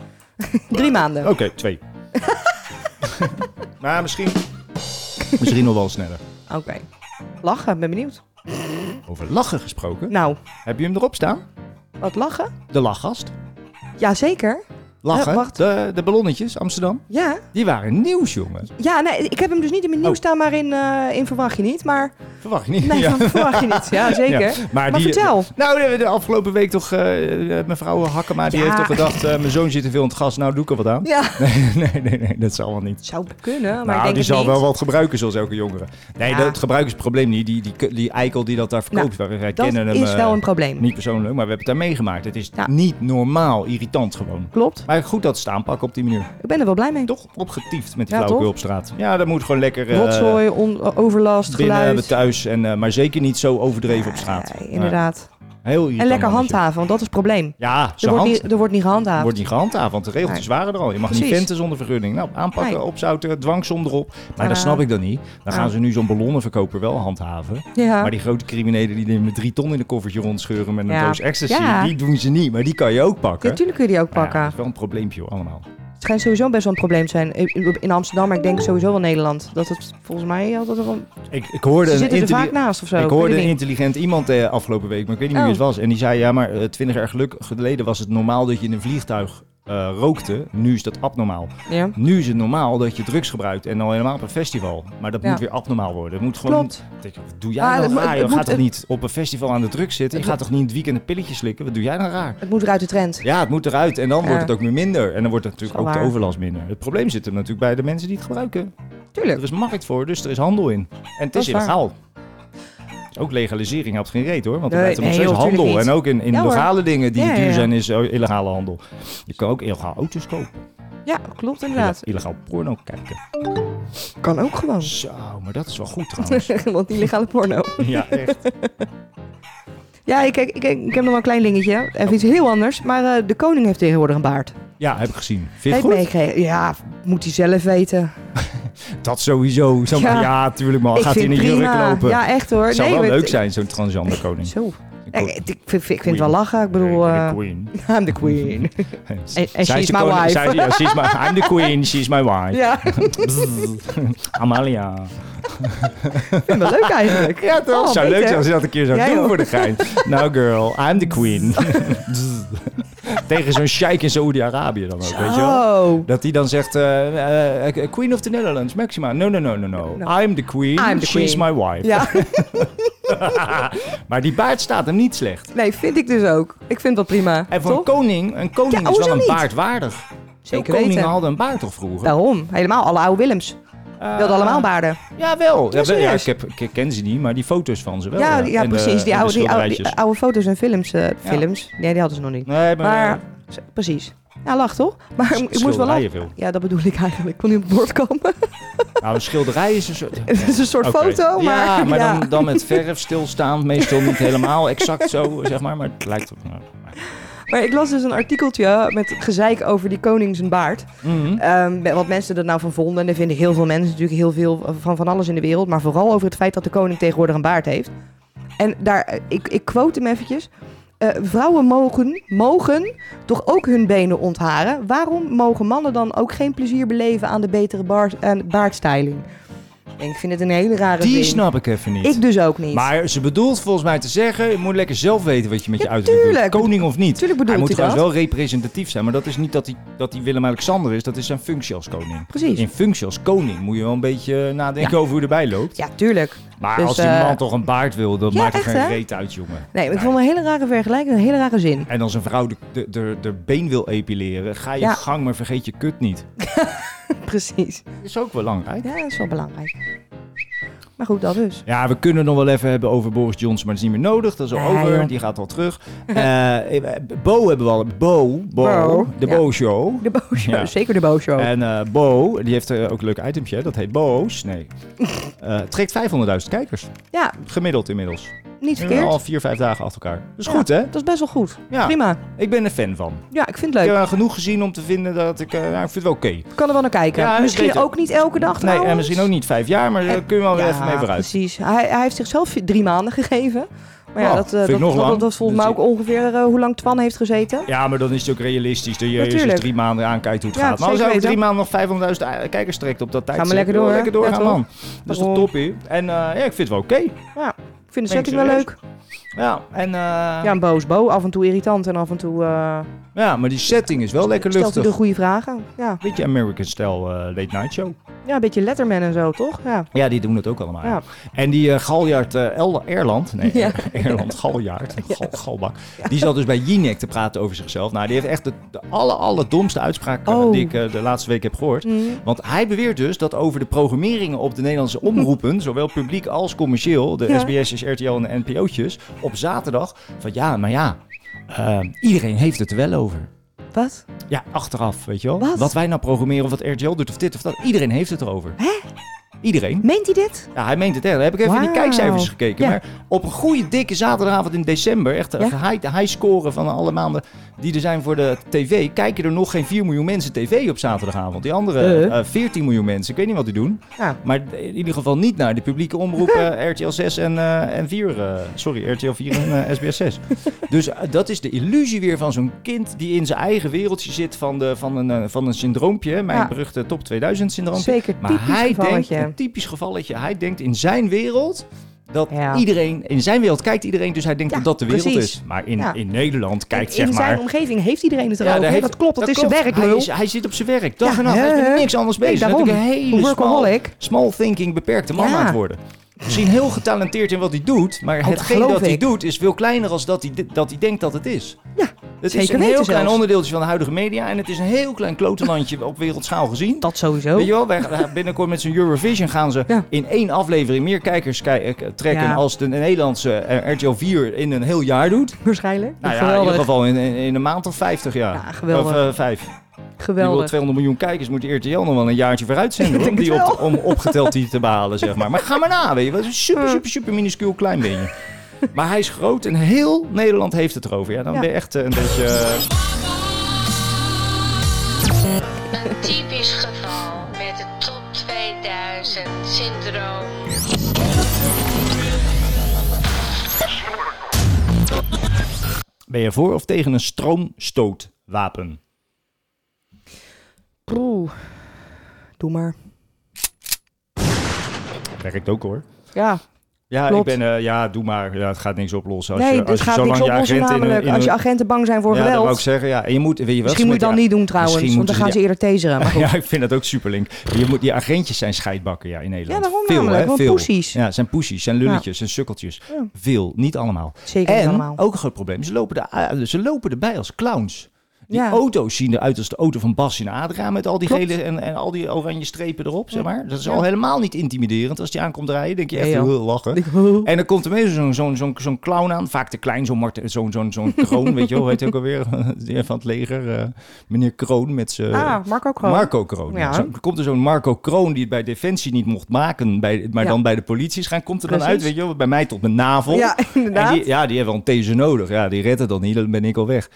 C: Drie maanden.
A: Oké, twee. maar misschien... Misschien nog wel sneller.
C: Oké. Lachen, ben benieuwd.
A: Over lachen gesproken.
C: Nou.
A: Heb je hem erop staan?
C: Wat lachen?
A: De lachgast.
C: Jazeker.
A: Lachen.
C: Eh, wacht.
A: De, de ballonnetjes, Amsterdam.
C: Ja.
A: Die waren nieuws, jongen.
C: Ja, nee, ik heb hem dus niet in mijn
A: Oh.
C: nieuws staan, maar in, eh, in Verwacht je niet. Maar
A: Verwacht je niet.
C: Nee,
A: Ja.
C: dat verwacht je niet. Ja, zeker. Maar vertel.
A: Nou, de, de afgelopen week toch... eh, eh, mevrouw Hakkema, die
C: Ja.
A: heeft toch gedacht... eh, mijn zoon zit te veel in het gas, nou doe ik er wat aan.
C: Ja.
A: Nee, nee, nee, nee dat zal wel niet.
C: zou kunnen, maar
A: nou,
C: ik denk
A: die
C: het
A: zal
C: niet.
A: wel wat gebruiken, zoals elke jongere. Nee,
C: Ja.
A: dat het gebruikersprobleem niet. Die, die, die eikel die dat daar verkoopt,
C: Nou,
A: wij- wij
C: dat
A: kennen hem...
C: is
A: eh,
C: wel een probleem.
A: Niet persoonlijk, maar we hebben het daar meegemaakt. Het is niet normaal irritant gewoon.
C: Klopt.
A: Maar goed dat ze het aanpakken op die manier.
C: Ik ben er wel blij mee.
A: Toch opgetiefd met die
C: Ja,
A: flauwekul
C: toch?
A: op straat. Ja, dat moet gewoon lekker... eh,
C: Rotzooi, on- overlast,
A: binnen hebben
C: geluid.
A: thuis. En, eh, maar zeker niet zo overdreven op straat.
C: Inderdaad.
A: Ja. Heel irritant
C: En lekker
A: mannetje.
C: handhaven, want dat is het probleem.
A: Ja,
C: er
A: zijn
C: wordt,
A: hand
C: niet, er wordt niet gehandhaafd.
A: wordt niet gehandhaafd, want de regeltjes
C: Nee.
A: waren er al. Je mag niet
C: Precies.
A: venten zonder vergunning. Nou, aanpakken,
C: Nee. Ah.
A: opzouten, dwangsom erop. Maar
C: Ja.
A: dat snap ik dan niet. Dan
C: Ja.
A: gaan ze nu zo'n ballonnenverkoper wel handhaven.
C: Ja.
A: Maar die grote criminelen die met drie ton in een koffertje rondscheuren met een
C: Ja.
A: doos ecstasy,
C: Ja.
A: die doen ze niet. Maar die kan je ook pakken.
C: Ja, tuurlijk kun je die ook
A: Maar ja,
C: pakken.
A: dat is wel een probleempje hoor, allemaal.
C: Het schijnt sowieso best wel een probleem te zijn. In- In Amsterdam, maar ik denk sowieso wel Nederland. Dat het volgens mij altijd wel...
A: Ik, ik hoorde
C: Ze
A: een
C: zitten er
A: intelli-
C: vaak naast of zo,
A: Ik
C: ik
A: hoorde
C: weet het
A: een
C: niet.
A: intelligent iemand eh, afgelopen week, maar ik weet niet meer wie
C: Oh.
A: het was. En die zei, ja, maar eh, twintig jaar geluk- geleden was het normaal dat je in een vliegtuig eh, rookte. Nu is dat abnormaal.
C: Ja.
A: Nu is het normaal dat je drugs gebruikt en al helemaal op een festival. Maar dat
C: Ja.
A: moet weer abnormaal worden. Het moet gewoon...
C: Klopt.
A: Denk, wat doe jij
C: Maar het
A: nou
C: moet-
A: raar?
C: het
A: Je
C: moet-
A: gaat toch
C: het-
A: niet op een festival aan de drugs zitten? Je gaat toch niet in het weekend een pilletje slikken? Wat doe jij nou raar?
C: Het moet eruit de trend.
A: Ja, het moet eruit en dan
C: Ja.
A: wordt het ook weer minder. En dan wordt het natuurlijk
C: Zal
A: ook de
C: waar.
A: overlast minder. Het probleem zit hem natuurlijk bij de mensen die het gebruiken.
C: Tuurlijk.
A: Er is markt voor, dus er is handel in. En het
C: Dat
A: is
C: is waar.
A: illegaal. Dus ook legalisering helpt geen reet hoor, want er
C: Nee,
A: blijft er nog
C: nee,
A: steeds
C: joh,
A: handel.
C: tuurlijk niet.
A: En ook in, in
C: Ja, hoor.
A: legale dingen die
C: Ja, ja,
A: duur
C: ja.
A: zijn, is eh, illegale handel. Je kan ook illegaal auto's kopen,
C: Ja, klopt inderdaad.
A: illegaal porno kijken.
C: Kan ook gewoon.
A: Zo, maar dat is wel goed trouwens.
C: Want illegale porno.
A: ja, echt.
C: Ja, ik, ik, ik, ik heb nog wel een klein dingetje. Even iets heel anders. Maar eh, de koning heeft tegenwoordig een baard.
A: Ja, heb ik gezien. Vind je het
C: Heeft
A: goed?
C: meegekregen. Ja, moet hij zelf weten.
A: Dat sowieso. Zo, ja.
C: Ja.
A: tuurlijk man.
C: Ik
A: Gaat hij in
C: vind
A: de jurk
C: prima.
A: lopen.
C: Ja, echt, hoor.
A: Zou
C: Nee,
A: wel
C: maar
A: leuk
C: het-
A: zijn, zo'n transgender koning.
C: Zo.
A: Ik
C: Ik,
A: hoor-
C: ik, ik vind, ik vind het wel lachen. Ik bedoel...
A: De
C: eh,
A: queen.
C: I'm the queen. En
A: Zij is
C: she's
A: de
C: my
A: koning-
C: wife.
A: zij- ja, she's my, I'm the queen, she's my wife.
C: Ja.
A: Amalia.
C: Ik vind het wel leuk eigenlijk. Oh,
A: Ja,
C: toch?
A: zou leuk zijn als je dat een keer zou
C: Ja,
A: doen
C: joh.
A: voor de gein. Nou girl, I'm the queen. Tegen zo'n sheik in Saoedi-Arabië dan ook, weet je
C: wel?
A: Dat die dan zegt, eh, eh, Queen of the Netherlands, Maxima. No, no, no, no, no. I'm the queen,
C: I'm the
A: she's
C: queen.
A: my wife.
C: Ja.
A: maar die baard staat hem niet slecht.
C: Nee, vind ik dus ook. Ik vind dat prima.
A: En voor een koning, een koning
C: Ja,
A: is wel
C: hoezo
A: een
C: niet?
A: baard waardig.
C: Zeker
A: Koningen
C: weten.
A: hadden een baard toch vroeger?
C: Daarom. Helemaal alle oude Willems. Wilden allemaal baarden.
A: Jawel. Ah. Ja, wel. ja,
C: serieus.
A: ik, heb, ik ken ze niet, maar die foto's van ze wel.
C: Ja, die- ja,
A: En de-
C: precies.
A: en
C: Die
A: de
C: oude, die oude, die
A: schilderijtjes.
C: oude foto's en films. eh,
A: Ja.
C: films. Nee, die hadden ze nog niet.
A: Nee, maar- eh,
C: z- precies. Ja, lach toch? Maar ik moest wel
A: schilderijen
C: lachen.
A: veel.
C: Ja, dat bedoel ik eigenlijk. Ik kon niet op het bord komen.
A: Nou, een schilderij is een soort...
C: Het is een soort
A: Oké.
C: foto, maar...
A: Ja, maar
C: ja.
A: Dan, dan met verf stilstaand. Meestal niet helemaal exact zo, zeg maar. Maar het lijkt op...
C: Maar ik las dus een artikeltje met gezeik over die koning zijn baard.
A: Mhm.
C: Ehm, met wat mensen er nou van vonden. En er vinden heel veel mensen natuurlijk heel veel van van alles in de wereld. Maar vooral over het feit dat de koning tegenwoordig een baard heeft. En daar, eh, ik, ik quote hem eventjes. Eh, vrouwen mogen, mogen toch ook hun benen ontharen. Waarom mogen mannen dan ook geen plezier beleven aan de betere baard, aan baardstyling? Ik denk, Ik vind het een hele rare
A: Die
C: ding.
A: snap ik even niet.
C: Ik dus ook niet.
A: Maar ze bedoelt volgens mij te zeggen... je moet lekker zelf weten wat je met je uiterlijk doet.
C: tuurlijk.
A: Koning of niet.
C: Tuurlijk
A: hij
C: bedoelt
A: moet
C: hij
A: trouwens
C: dat.
A: wel representatief zijn. Maar dat is niet dat hij, dat hij Willem-Alexander is. Dat is zijn functie als koning.
C: Precies.
A: In functie als koning moet je wel een beetje eh, nadenken over hoe je erbij loopt.
C: Ja, tuurlijk.
A: Maar
C: Dus,
A: als die
C: eh,
A: man toch een baard wil, dan
C: ja,
A: maakt er
C: echt,
A: geen
C: hè?
A: reet uit, jongen.
C: Nee, maar ik vond het een hele rare vergelijking, een hele rare zin.
A: En als een vrouw de, de, de, de been wil epileren, ga je
C: Ja.
A: gang, maar vergeet je kut niet.
C: Precies.
A: Dat is ook belangrijk.
C: Ja, dat is wel belangrijk. Maar goed, dat dus.
A: Ja, we kunnen het nog wel even hebben over Boris Johnson, maar dat is niet meer nodig. Dat is al
C: Nee,
A: over,
C: joh.
A: die gaat al terug. Eh, eh, Bo hebben we al. Bo, Bo,
C: Bo,
A: de
C: ja.
A: Bo Show.
C: De booshow,
A: Ja.
C: zeker de booshow.
A: En eh, Bo, die heeft eh, ook een leuk itemje, hè? dat heet Bo's. Nee. Eh, trekt 500.000 kijkers.
C: Ja,
A: Gemiddeld inmiddels.
C: niet verkeerd.
A: Al vier, vijf dagen achter elkaar. Dat is
C: Ja,
A: goed, hè?
C: Dat is best wel goed.
A: Ja.
C: Prima.
A: Ik ben er fan van.
C: Ja, ik vind het
A: Ik heb
C: leuk.
A: eh, genoeg gezien om te vinden dat ik... eh, nou, ik vind het wel oké.
C: Ik kan er wel naar kijken.
A: Ja,
C: misschien
A: beter.
C: ook niet elke dag
A: Nee,
C: trouwens.
A: en misschien ook niet vijf jaar, maar daar kun je wel weer
C: Eh, Ja,
A: even mee vooruit.
C: precies. Hij, hij heeft zichzelf vi- drie maanden gegeven. Maar ja,
A: Oh,
C: dat, eh,
A: vind ik
C: dat,
A: nog
C: dat,
A: lang.
C: dat is volgens mij ook
A: Dus
C: ongeveer eh, hoe lang Twan heeft gezeten.
A: Ja, maar dan is het ook realistisch dat je eerst eens
C: Natuurlijk.
A: drie maanden aankijkt hoe het
C: Ja,
A: gaat. Maar als
C: zeker
A: hij over drie
C: weten.
A: maanden nog 500.000 a- kijkers trekt op dat tijdstip,
C: maar lekker
A: wil
C: door, hè?
A: lekker doorgaan,
C: Ja, toch?
A: man. Dat is toch
C: Daarom.
A: toppie. En eh, ja, ik vind het wel oké.
C: Ja, ik vind de
A: Denk
C: setting wel
A: serieus.
C: leuk.
A: Ja, en, eh,
C: Ja, een boos bo. Af en toe irritant en af en toe eh,
A: ja, maar die setting is wel lekker
C: stelt hij de
A: luchtig.
C: goede vragen. Ja.
A: Beetje American Style eh, Late Night Show.
C: ja, een beetje letterman en zo, toch? Ja.
A: Ja, die doen het ook allemaal.
C: Ja.
A: En die eh, Galjaard eh, El- Erland, nee,
C: Ja.
A: Erland Galjaard, Gal, Galbak, die zat dus bij Jinek te praten over zichzelf. Nou, die heeft echt de, de alle, domste uitspraak eh,
C: Oh. Mhm.
A: die ik eh, de laatste week heb gehoord. Want hij beweert dus dat over de programmeringen op de Nederlandse omroepen, zowel publiek als commercieel, de
C: Ja.
A: SBS'jes, RTL en de NPO'tjes, op zaterdag, van ja, maar ja, eh, iedereen heeft het er wel over.
C: Wat?
A: Ja, achteraf, weet je wel.
C: Wat?
A: wij nou programmeren of wat RTL doet of dit of dat, iedereen heeft het erover. Hè? Iedereen.
C: Meent hij dit?
A: Ja, hij meent het echt. Dan heb ik even in die
C: Wauw.
A: kijkcijfers gekeken.
C: Ja.
A: Maar op een goede dikke zaterdagavond in december, echt een high, de high score van alle maanden die er zijn voor de tv, kijken er nog geen 4 miljoen mensen tv op zaterdagavond. Die andere
C: Eh.
A: eh, 14 miljoen mensen, ik weet niet wat die doen.
C: Ja.
A: Maar in ieder geval niet naar de publieke omroepen RTL 6 en, eh, en 4. eh, sorry, RTL 4 en eh, SBS 6. Dus eh, dat is de illusie weer van zo'n kind die in zijn eigen wereldje zit van, de, van, een, eh, van een syndroompje. hè, Mijn
C: Ja.
A: beruchte top 2000 syndroom.
C: Zeker,
A: Maar
C: typisch
A: hij
C: gevalletje.
A: denkt, een typisch gevalletje, hij denkt in zijn wereld dat
C: Ja.
A: iedereen, in zijn wereld kijkt iedereen, dus hij denkt
C: Ja,
A: dat dat de wereld
C: precies.
A: is. Maar in,
C: Ja.
A: in Nederland kijkt
C: in
A: zeg
C: in
A: maar...
C: zijn omgeving heeft iedereen het
A: Ja,
C: erover.
A: daar heeft-
C: dat klopt, dat, is zijn werk,
A: Hij,
C: lul.
A: is- hij zit op zijn werk, dag
C: Ja,
A: en nacht. Hij is
C: hè?
A: met niks anders
C: Nee,
A: bezig. Dat is
C: daarom.
A: natuurlijk een hele small,
C: Workaholic.
A: small thinking beperkte man
C: Ja. Oh,
A: aan het worden. Misschien heel getalenteerd in wat hij doet, maar
C: dat
A: hetgeen
C: geloof
A: dat hij
C: ik.
A: doet is veel kleiner dan dat hij, dat hij denkt dat het is.
C: Ja,
A: Het is
C: zeker
A: een heel
C: weten
A: klein
C: zelfs.
A: onderdeeltje van de huidige media en het is een heel klein klotenlandje op wereldschaal gezien.
C: Dat sowieso.
A: Weet je wel, wij gaan- binnenkort met zo'n Eurovision gaan ze
C: Ja.
A: in één aflevering meer kijkers kei- eh, trekken
C: Ja.
A: als de Nederlandse eh, RTL 4 in een heel jaar doet.
C: Waarschijnlijk.
A: Nou ja, in
C: geweldig.
A: ieder geval in, in, in een maand of 50 jaar.
C: Ja, geweldig.
A: Of eh, vijf. Die wil
C: geweldig.
A: 200 miljoen kijkers, moet die RTL nog wel een jaartje vooruit zenden hoor, om,
C: denk
A: die
C: het
A: op, om opgeteld die te behalen, zeg maar. Maar ga maar na, weet je. wel. Het is een super, super, super minuscuul klein beetje. Maar hij is groot en heel Nederland heeft het erover. Ja, dan
C: Ja.
A: ben je echt eh, een beetje... eh,
K: Een typisch geval met het top 2000 syndroom.
A: ben je voor of tegen een stroomstootwapen?
C: Oeh. Doe maar.
A: Werkt ook hoor.
C: Ja.
A: Ja,
C: Klopt.
A: ik ben, eh, ja, doe maar. Ja, het gaat niks oplossen. Als
C: nee,
A: je,
C: het
A: als je
C: gaat
A: zo
C: niks
A: lang je
C: oplossen
A: agent in een-
C: namelijk.
A: in
C: als je
A: een-
C: agenten bang zijn voor
A: ja, dat
C: geweld.
A: wou ik zeggen. Ja. En je moet, weet je wel,
C: Misschien moet je
A: ze
C: dat
A: moeten-
C: niet doen
A: ja,
C: trouwens,
A: misschien
C: want dan gaan
A: moeten
C: ze
A: die-
C: irriteren. Maar goed.
A: Ja, ik vind dat ook superlink. Je moet, die agentjes zijn scheidbakken ja, in Nederland.
C: Ja, daarom
A: Veel,
C: namelijk,
A: hè,
C: want
A: veel.
C: poesies.
A: Ja, zijn poesies, zijn lulletjes, zijn sukkeltjes.
C: Ja.
A: Veel, niet allemaal.
C: Zeker
A: en
C: niet allemaal.
A: ook een groot probleem, ze lopen, er, ze lopen erbij als clowns. Die
C: Ja.
A: auto's zien eruit als de auto van Bas in Adra... met al die
C: Klopt.
A: gele en, en al die oranje strepen erop, zeg maar. Dat is
C: Ja.
A: al helemaal niet intimiderend. Als die aankomt rijden, denk je echt
C: Nee, joh.
A: heel lachen. En dan komt er meestal zo'n zo'n zo'n zo'n clown aan. Vaak te klein, zo'n Mart- zo'n zo'n zo'n kroon, weet je wel. Hoe heet hij ook alweer? Die Van het leger, eh, meneer Kroon met zijn...
C: Ah, Marco Kroon.
A: Marco Kroon. ja.
C: Ja.
A: Zo- komt er zo'n Marco Kroon die het bij Defensie niet mocht maken, bij, maar
C: Ja.
A: dan bij de politie is gaan, komt er dan
C: Precies.
A: uit, weet je wel, bij mij tot mijn navel.
C: Ja, inderdaad.
A: En die, ja, die hebben wel een taser nodig. Ja, die redt het dan niet, dan ben ik al weg.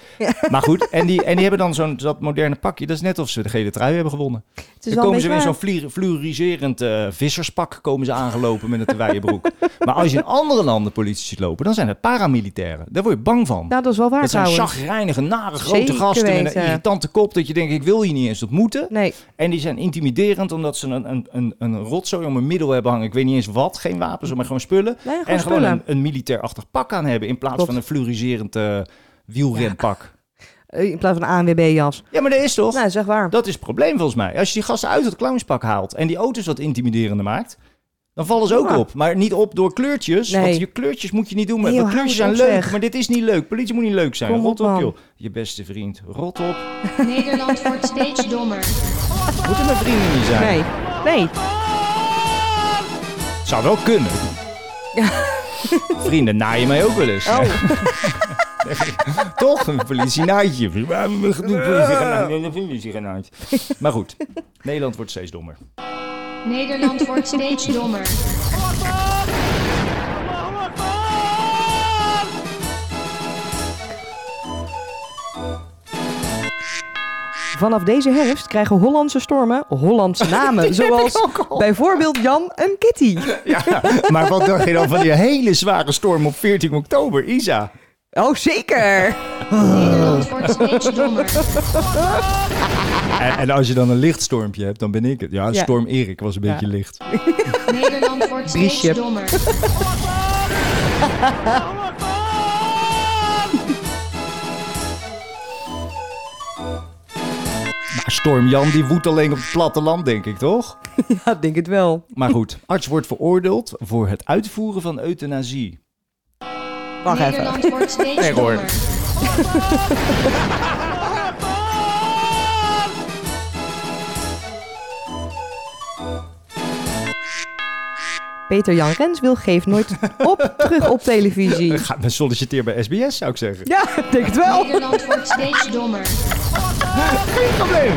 A: Maar goed, en die, en die hebben dan zo'n dat moderne pakje. Dat is net of ze de gele trui hebben gewonnen.
C: is
A: Dan
C: wel
A: komen
C: een
A: ze
C: beetje
A: weer in
C: waar.
A: zo'n fluor- fluoriserend eh, visserspak komen ze aangelopen met een terwijde broek. maar als je in andere landen politie ziet lopen, dan zijn het paramilitairen. Daar word je bang van.
C: Nou, dat is wel waar
A: dat zijn
C: trouwens.
A: chagrijnige, nare, grote
C: Zeker
A: gasten met een
C: weten.
A: irritante kop. Dat je denkt, ik wil hier niet eens ontmoeten.
C: Nee.
A: En die zijn intimiderend omdat ze een, een, een, een rotzooi om een middel hebben hangen. Ik weet niet eens wat, geen wapens, maar gewoon spullen.
C: Nee, gewoon
A: en gewoon
C: spullen.
A: een, een militairachtig pak aan hebben in plaats
C: Klopt.
A: van een fluoriserend eh, wielrenpak.
C: Eh, In plaats van een ANWB-jas.
A: Ja, maar dat is toch?
C: Nou, zeg waar.
A: Dat is het probleem volgens mij. Als je die gasten uit het clownspak haalt en die auto's wat intimiderender maakt, dan vallen ze ook
C: Ja.
A: op. Maar niet op door kleurtjes,
C: Nee.
A: want je kleurtjes moet je niet doen. Met,
C: Nee,
A: want
C: joh,
A: kleurtjes
C: hou
A: zijn
C: het
A: leuk,
C: op, zeg.
A: maar dit is niet leuk. Politie moet niet leuk zijn.
C: Kom op,
A: rot op,
C: man.
A: joh. Je beste vriend, rot op.
D: Nederland wordt steeds dommer.
A: Moeten mijn vrienden niet zijn.
C: Nee. Nee.
A: Zou wel kunnen. Vrienden naaien mij ook wel eens.
C: Oh.
A: Toch? Een politienaadje. Maar we gaan doen politiegenaaid. Nee, een politiegenaaid. Maar goed, Nederland wordt steeds dommer.
D: Nederland wordt steeds dommer.
C: Vanaf deze herfst krijgen Hollandse stormen Hollandse namen. zoals bijvoorbeeld Jan en Kitty.
A: Ja, maar wat dacht je dan van die hele zware storm op 14 oktober, Isa?
C: Oh, zeker.
D: Nederland wordt steeds dommer.
A: En, en als je dan een lichtstormpje hebt, dan ben ik het. Ja,
C: Ja.
A: storm Erik was een
C: Ja.
A: beetje licht.
D: Nederland wordt steeds
C: Briesje.
D: dommer.
A: Maar storm Jan, die woedt alleen op het platteland, denk ik, toch?
C: Ja, ik denk het wel.
A: Maar goed, arts wordt veroordeeld voor het uitvoeren van euthanasie.
C: Wacht even.
D: Nederland wordt steeds
A: Nee, hoor.
D: dommer.
C: Peter Jan Rens wil Geef Nooit Op terug op televisie.
A: Ga maar solliciteer bij SBS, zou ik zeggen.
C: Ja, ik denk het wel.
D: Nederland wordt steeds dommer.
A: Geen probleem.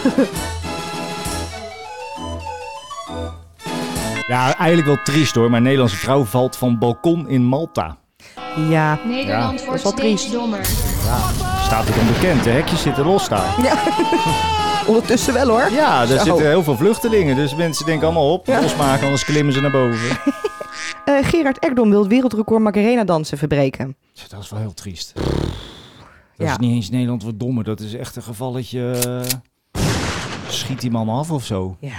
A: Ja, eigenlijk wel triest hoor, maar Nederlandse vrouw valt van balkon in Malta.
C: Ja.
D: Nederland
C: dat
D: wordt
C: is wel
D: steeds
C: triest.
D: dommer.
A: Staat het onbekend, de hekjes zitten los daar.
C: Ondertussen wel hoor.
A: Ja, daar
C: Zo.
A: zitten heel veel vluchtelingen, dus mensen denken allemaal op, losmaken, anders klimmen ze naar boven.
C: Eh, Gerard Ekdom wil het wereldrecord Macarena dansen verbreken.
A: Dat is wel heel triest. Dat
C: Ja.
A: is niet eens Nederland wat dommer, dat is echt een gevalletje... eh, Schiet die man af of zo.
C: Ja,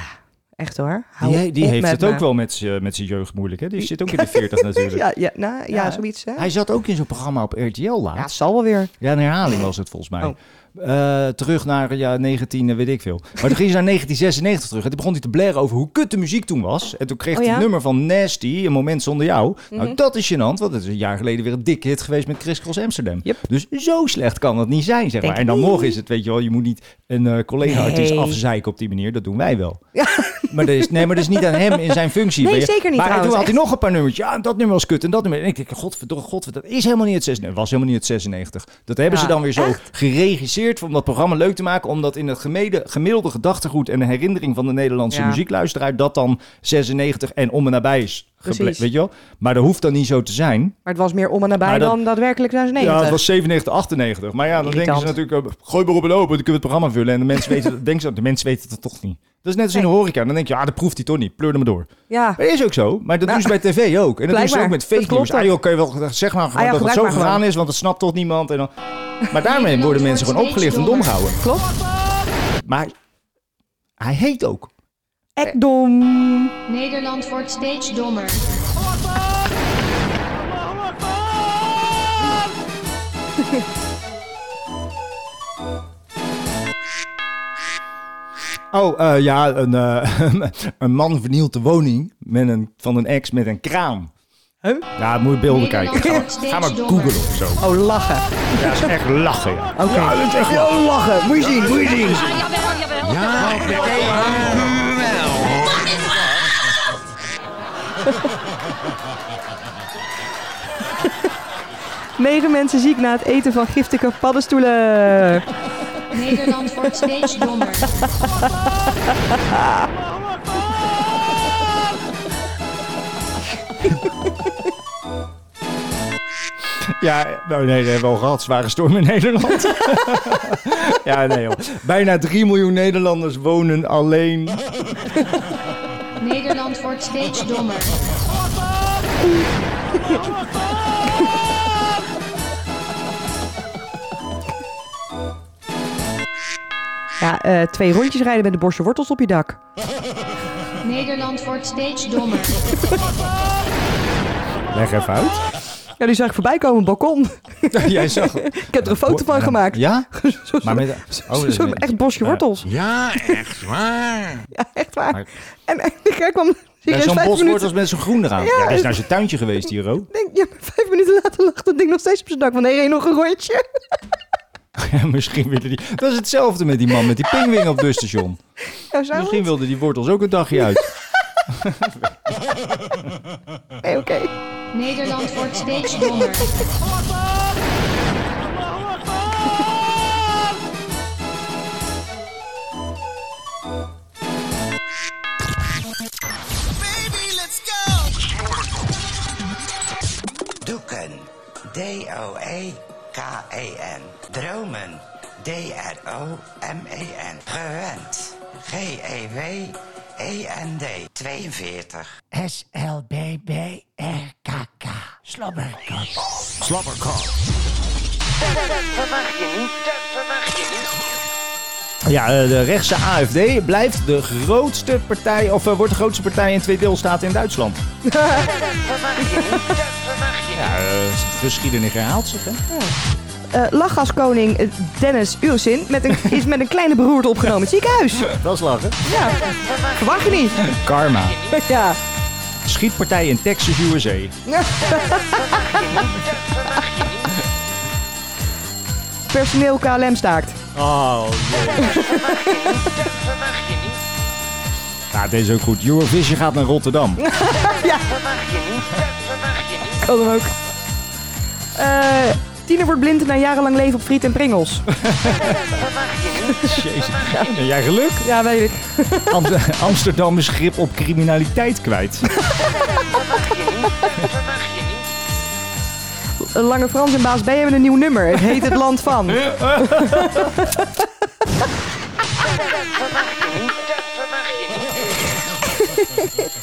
C: echt hoor. Hou
A: Die, die
C: op
A: heeft
C: met
A: het
C: me.
A: ook wel met zijn met zijn jeugd moeilijk, hè? Die zit ook in de 40 natuurlijk.
C: Ja, ja, nou, ja,
A: Ja.
C: zoiets hè.
A: Hij zat ook in zo'n programma op RTL
C: Ja, het
A: laatst.
C: zal wel weer.
A: Ja, een herhaling was het volgens mij.
C: Oh.
A: Eh, terug naar ja, 19, eh, weet ik veel. Maar toen ging ze naar 1996 terug. En toen begon hij te blaren over hoe kut de muziek toen was. En toen kreeg hij
C: Oh, ja? Mhm.
A: het nummer van Nasty, Een Moment Zonder Jou. Nou, dat is gênant, want het is een jaar geleden weer een dikke hit geweest met Chris Cross Amsterdam.
C: Yep.
A: Dus zo slecht kan dat niet zijn, zeg
C: Denk
A: maar. En dan
C: niet.
A: nog is het, weet je wel, je moet niet een eh, collega-artiest
C: Nee.
A: afzeiken op die manier. Dat doen wij wel. Maar dat is, nee, maar dat is niet aan hem in zijn functie.
C: Nee,
A: Maar je-
C: zeker niet
A: Maar toen
C: trouwens,
A: had hij nog een paar nummertjes. Ja, dat nummer was kut en dat nummer. En ik denk, godverdomme, godverdomme, dat is helemaal niet het 96. was helemaal niet het 96. Dat hebben
C: Ja,
A: ze dan weer zo geregisseerd om dat programma leuk te maken. Omdat in het gemede, gemiddelde gedachtegoed en de herinnering van de Nederlandse
C: Ja.
A: muziekluisteraar... dat dan 96 en om en nabij is. geble-
C: Precies.
A: Weet je wel? Maar dat hoeft dan niet zo te zijn.
C: Maar het was meer om en nabij
A: Maar dat-
C: dan daadwerkelijk naar zijn
A: Ja, het
C: negentiger.
A: was 97, 98. Maar ja, dan denken ze
C: Irritant.
A: natuurlijk, eh, gooi maar op en open, dan kunnen we het programma vullen. En de mensen weten, denken ze, de mensen weten dat toch niet. Dat is net als in de horeca. Dan denk je, ah, dat proeft hij toch niet. Pleur er maar door.
C: Ja,
A: Maar dat is ook zo. Maar dat doen ze bij tv ook. En dat doen ze
C: Nou, blijkbaar.
A: ook met
C: Dat
A: fake
C: klopt
A: news. Ah
C: ook. Ah,
A: joh, kun je wel zeg maar gewoon
C: ja,
A: dat het
C: gebruik
A: zo
C: maar gewoon.
A: gegaan is, want dat snapt toch niemand. En dan... Maar daarmee worden mensen gewoon opgelicht en dom gehouden.
C: klopt.
A: Maar hij heet ook
C: Ekdom.
D: Nederland wordt steeds dommer.
A: Oh, eh, ja, een, eh, een man vernielt de woning met een, van een ex met een kraan.
C: Huh?
A: Ja, moet je beelden kijken. Ga,
C: Nederland wordt
A: ga maar
C: steeds
A: googlen of zo.
C: Oh, lachen.
A: Ja, dat is echt lachen. Ja.
C: Oké.
A: Ja, dat is echt lachen.
C: Oh, lachen. Moet je zien, moet je zien.
I: Ja,
C: Negen mensen ziek na het eten van giftige paddenstoelen.
D: Nederland wordt steeds dommer.
A: Ja, nou nee, dat hebben we al gehad. Zware storm in Nederland. ja, nee joh. Bijna 3 miljoen Nederlanders wonen alleen.
D: Nederland wordt steeds dommer.
C: Ja, eh, twee rondjes rijden met de borstje wortels op je dak.
D: Nederland wordt steeds dommer.
A: Leg even uit.
C: Ja, die zag ik voorbij komen, balkon.
A: Jij zag...
C: ik heb er een foto van gemaakt.
A: Ja?
C: Zo-
A: Maar met... oh,
C: zo-
A: dat-
C: Zo'n echt bosje wortels.
I: Ja, echt waar.
C: Ja, echt waar. En, en ik kwam
A: Ja,
C: serieus
A: zo'n
C: vijf
A: boswortels
C: minuten...
A: met zo'n groen eraan.
C: Ja. dus-
A: Ja, dat is nou zijn tuintje geweest hier, hoor.
C: Denk, ja, maar vijf minuten later lag dat ding nog steeds op zijn dak. Van, hé, hey, nog een rondje.
A: Ja, misschien willen die... Dat is hetzelfde met die man met die pingwing op het busstation.
C: Ja, zou
A: Misschien
C: het?
A: wilden die wortels ook een dagje uit.
C: Nee, oké.
D: Nederland wordt steeds dommer.
L: Doeken. D-O-E-K-E-N. Dromen.
G: Ah!
L: D-R-O-M-E-N. Gewend. G-E-W-E-N-D. 42.
J: S-L-B-B-R-K-K. Slobberkok.
L: Slobberkok.
A: Ja, eh, de rechtse AFD blijft de grootste partij... of eh, wordt de grootste partij in twee deelstaten in Duitsland. Ja, eh, geschiedenis herhaalt zich, hè?
C: Eh, lachgaskoning eh, Dennis Ursin met een, is met een kleine beroerte opgenomen in het ziekenhuis.
A: Dat is lachen.
C: Ja, verwacht je niet.
A: Karma.
C: Ja.
A: Schietpartij in Texas, USA.
C: Personeel KLM staakt.
A: Oh, Ja, deze is ook goed. Eurovision gaat naar Rotterdam.
C: ja. Kan hem ook. Eh tiener wordt blind na jarenlang leven op friet en pringels.
A: Jezus. Ben jij geluk?
C: Ja, weet ik.
A: Amsterdam Amsterdam is grip op criminaliteit kwijt.
C: Lange Frans en Baas B hebben een nieuw nummer. Het heet Het Land Van.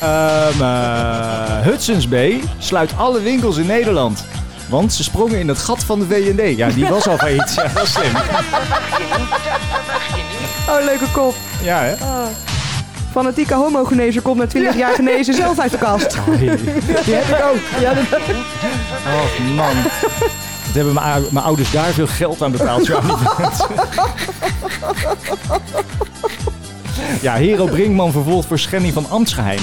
A: Ehm eh, Hudson's Bay sluit alle winkels in Nederland. Want ze sprongen in het gat van de VND. Ja, die was al failliet. Ja, dat is slim.
C: Oh, leuke kop.
A: Ja, hè?
C: Oh. Fanatieke homogenezer komt na 20 jaar genezen zelf uit de kast. Die heb ik ook. Ja, dat...
A: Oh, man. Dat hebben mijn, ou- mijn ouders daar veel geld aan betaald. zo. Ja, Hero Brinkman vervolgd voor schending van ambtsgeheim.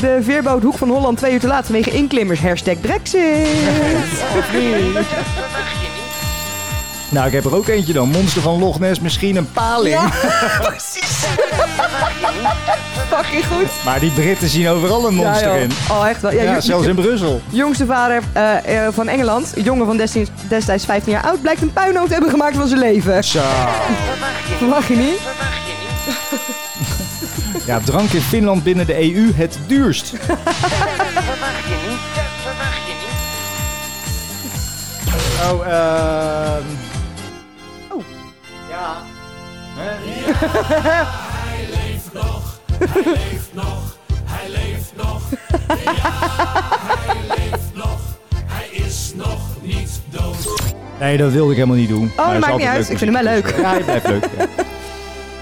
C: De veerboot Hoek van Holland twee uur te laat vanwege inklimmers. Hashtag Brexit.
A: Nou, ik heb er ook eentje dan. Monster van Loch Ness, misschien een paling.
C: Ja, precies. Fucking goed.
A: Maar die Britten zien overal een monster
C: Ja, joh.
A: in.
C: Oh, echt wel. Ja,
A: Ja,
C: joh.
A: zelfs in Brussel.
C: Jongste vader eh, eh, van Engeland, jongen van destijds, destijds 15 jaar oud, blijkt een puinhoop te hebben gemaakt van zijn leven.
A: Zo.
C: Mag je niet?
A: Ja, drank in Finland binnen de EU het duurst. Oh, ehm...
C: Oh.
A: Ja.
B: Hij leeft nog, hij leeft nog, hij leeft nog. Ja, hij leeft nog, hij is nog niet dood.
A: Nee, dat wilde ik helemaal niet doen.
C: dat
A: Maar is
C: maakt
A: altijd
C: niet uit.
A: leuk
C: Ik vind hem wel
A: muziek.
C: leuk.
A: Ja, hij blijft leuk. ja.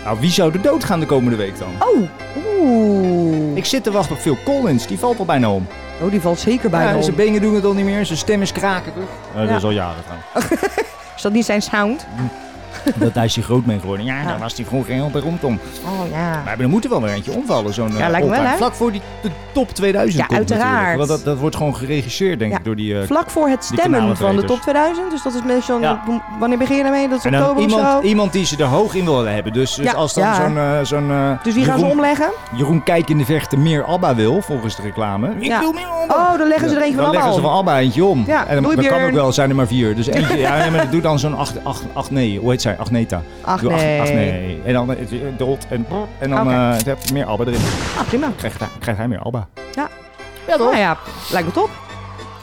A: Nou, wie zou er dood gaan de komende week dan?
C: Oh, oeh.
A: Ik zit te wachten op Phil Collins. Die valt al bijna om.
C: Oh, die valt zeker bijna
A: ja,
C: om.
A: Zijn benen doen het al niet meer. Zijn stem is krakerig. Eh,
C: Ja.
A: Dat is al jaren gaan.
C: Is dat niet zijn sound?
A: Dat hij is hij groot mee geworden. Ja, daar was hij vroeger heel beroemd om.
C: Oh ja.
A: Maar er moet er wel weer eentje omvallen. Zo'n eh,
C: Ja, lijkt me wel,
A: all-time.
C: hè?
A: Vlak voor die de top 2000
C: Ja,
A: komt
C: uiteraard.
A: natuurlijk. Want dat, dat wordt gewoon geregisseerd, denk
C: Ja,
A: ik, door die eh,
C: Vlak voor het
A: die
C: stemmen van de
A: kanalenvreters.
C: top 2000. Dus dat is meestal... eh,
A: Ja.
C: Wanneer begin je daarmee? Dat is
A: En dan
C: oktober of zo?
A: iemand, iemand die ze er hoog in wil hebben. Dus, dus
C: Ja,
A: als dan
C: ja.
A: zo'n... eh, zo'n, eh,
C: Dus die gaan ze
A: Jeroen-
C: omleggen?
A: Jeroen Kijk in de Vechten meer ABBA wil, volgens de reclame.
C: Ja. Oh, dan leggen ze er eentje van
A: dan leggen
C: allemaal
A: ze
C: om.
A: van ABBA eentje om.
C: Ja,
A: en
C: doei
A: dat kan
C: Björn.
A: ook wel, zijn er maar vier. Dus eentje, ja, nee, maar doe dan zo'n acht, acht, acht nee. Hoe heet zij? Agneta.
C: Acht
A: Doe
C: nee.
A: acht nee. En dan eh, dood en brrr. En dan
C: Oké.
A: eh, dan heb je meer ABBA erin.
C: Ah, prima.
A: Krijgt hij, krijgt hij meer ABBA.
C: Ja. Ja, toch? Nou ja, lijkt me top.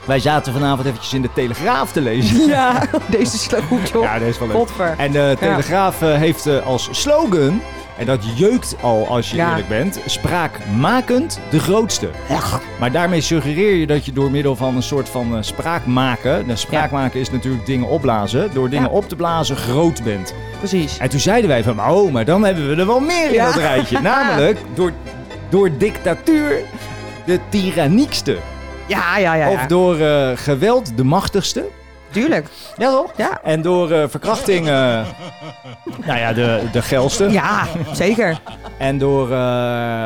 A: Wij zaten vanavond eventjes in de Telegraaf te lezen.
C: Ja, deze is wel goed, joh.
A: Ja, deze is wel leuk.
C: Godver.
A: En de Telegraaf eh, heeft eh, als slogan, en dat jeukt al als je
C: Ja.
A: eerlijk bent, spraakmakend de grootste. Maar daarmee suggereer je dat je door middel van een soort van eh, spraak maken, nou, spraak maken is natuurlijk dingen opblazen, door dingen op te blazen groot bent.
C: Precies.
A: En toen zeiden wij van, oh, maar dan hebben we er wel meer in
C: Ja.
A: dat rijtje. Namelijk door, door dictatuur de tyranniekste.
C: Ja, ja, ja. ja.
A: Of door eh, geweld de machtigste.
C: Tuurlijk.
A: Ja, toch?
C: Ja.
A: En door eh, verkrachting, eh, nou ja, de, de gelste.
C: Ja, zeker.
A: En door, eh,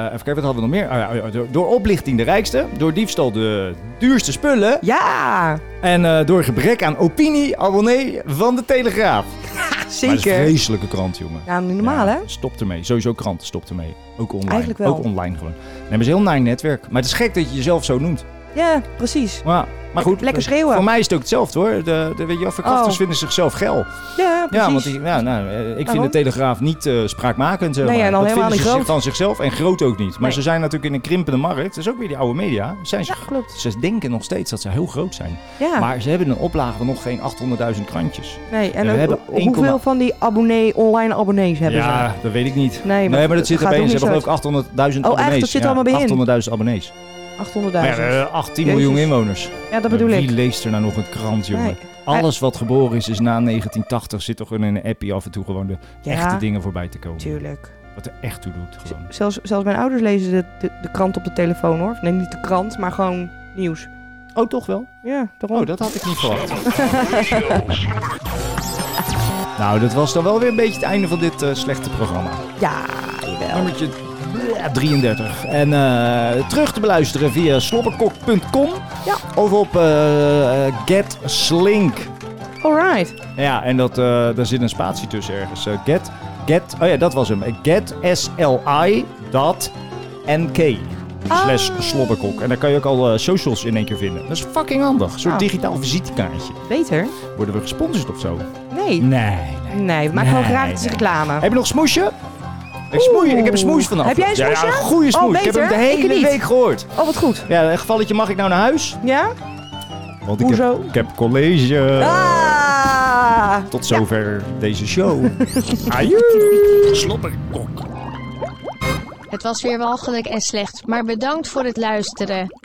A: even kijken, wat hadden we nog meer? Ah, ja, ja, door, door oplichting de rijkste, door diefstal de duurste spullen.
C: Ja!
A: En eh, door gebrek aan opinie, abonnee van de Telegraaf. Maar dat is een
C: Zeker.
A: vreselijke krant, jongen.
C: Ja, niet normaal, hè?
A: Stop ermee. Sowieso kranten, stop ermee. Ook online.
C: Eigenlijk wel.
A: Ook online gewoon. Nee, maar het is een heel naar netwerk. Maar het is gek dat je jezelf zo noemt.
C: Ja, precies.
A: Maar, maar goed.
C: Lekker schreeuwen.
A: Voor mij is het ook hetzelfde hoor. De, de, weet je wel, verkrachters
C: Oh.
A: vinden zichzelf geil.
C: Ja, precies.
A: Ja, want die, ja, nou, eh, ik vind
C: Waarom?
A: de Telegraaf niet eh, spraakmakend. zeg
C: Nee,
A: maar.
C: en al
A: dat
C: helemaal
A: vinden
C: niet
A: ze zich
C: groot.
A: van zichzelf en groot ook niet. Maar
C: Nee.
A: ze zijn natuurlijk in een krimpende markt. Dat is ook weer die oude media. Zijn ze, ze denken nog steeds dat ze heel groot zijn.
C: Ja.
A: Maar ze hebben een oplage van nog geen 800.000 krantjes.
C: Nee, en
A: we
C: ook-
A: hebben
C: ho- hoeveel
A: 1,8
C: van die abonnee, online abonnees hebben
A: ja,
C: ze?
A: dat weet ik niet.
C: Nee, maar
A: maar, dat
C: dat
A: zit
C: gaat
A: erbij. in. Ze
C: ook
A: hebben
C: niet
A: geloof ik 800.000
C: Oh, echt?
A: abonnees.
C: Dat zit
A: Ja,
C: allemaal bij in.
A: 800.000 abonnees.
C: 800.000.
A: Maar ja, we hebben 18 miljoen
C: Jezus.
A: inwoners.
C: Ja, dat bedoel
A: Wie
C: ik.
A: leest er nou nog een krant, jongen?
C: Nee.
A: Alles wat geboren is, is na 1980, zit toch in een appie af en toe gewoon de
C: Ja.
A: echte dingen voorbij te komen.
C: Tuurlijk.
A: Wat er echt toe doet, gewoon.
C: Zelfs, zelfs mijn ouders lezen de, de, de krant op de telefoon, hoor. Nee, niet de krant, maar gewoon nieuws.
A: Oh, toch wel?
C: Ja, daarom.
A: Oh, dat had ik niet verwacht. Nou, dat was dan wel weer een beetje het einde van dit eh, slechte programma.
C: ja, jawel.
A: Nummertje eh, 33. En eh, terug te beluisteren via slobberkok.com of op eh, eh, GetSlink.
C: Alright.
A: Ja, en dat, eh, daar zit een spatie tussen ergens. Eh, get, get, oh ja, dat was hem. GetSLI.nk slash
C: Oh.
A: slobberkok. En daar kan je ook al eh, socials in één keer vinden. Dat is fucking handig. Een soort
C: Ah.
A: digitaal visitekaartje.
C: Beter?
A: Worden we gesponsord of zo?
C: Nee.
A: Nee.
C: Nee, we maken gewoon gratis
A: nee.
C: reclame.
A: Heb je nog smoesje? Ik, smoei, ik heb een smoes vanaf.
C: Heb jij een
A: Ja,
C: smoesje?
A: een goede smoes.
C: Oh,
A: ik heb hem de
C: beter. Ik
A: hele
C: niet.
A: week gehoord.
C: Oh, wat goed.
A: Ja, in een gevalletje mag ik nou naar huis.
C: Ja?
A: Want ik heb, ik heb college.
C: Ah!
A: Tot zover deze show. Ajoe. Slobberkok.
D: Het was weer walgelijk en slecht, maar bedankt voor het luisteren.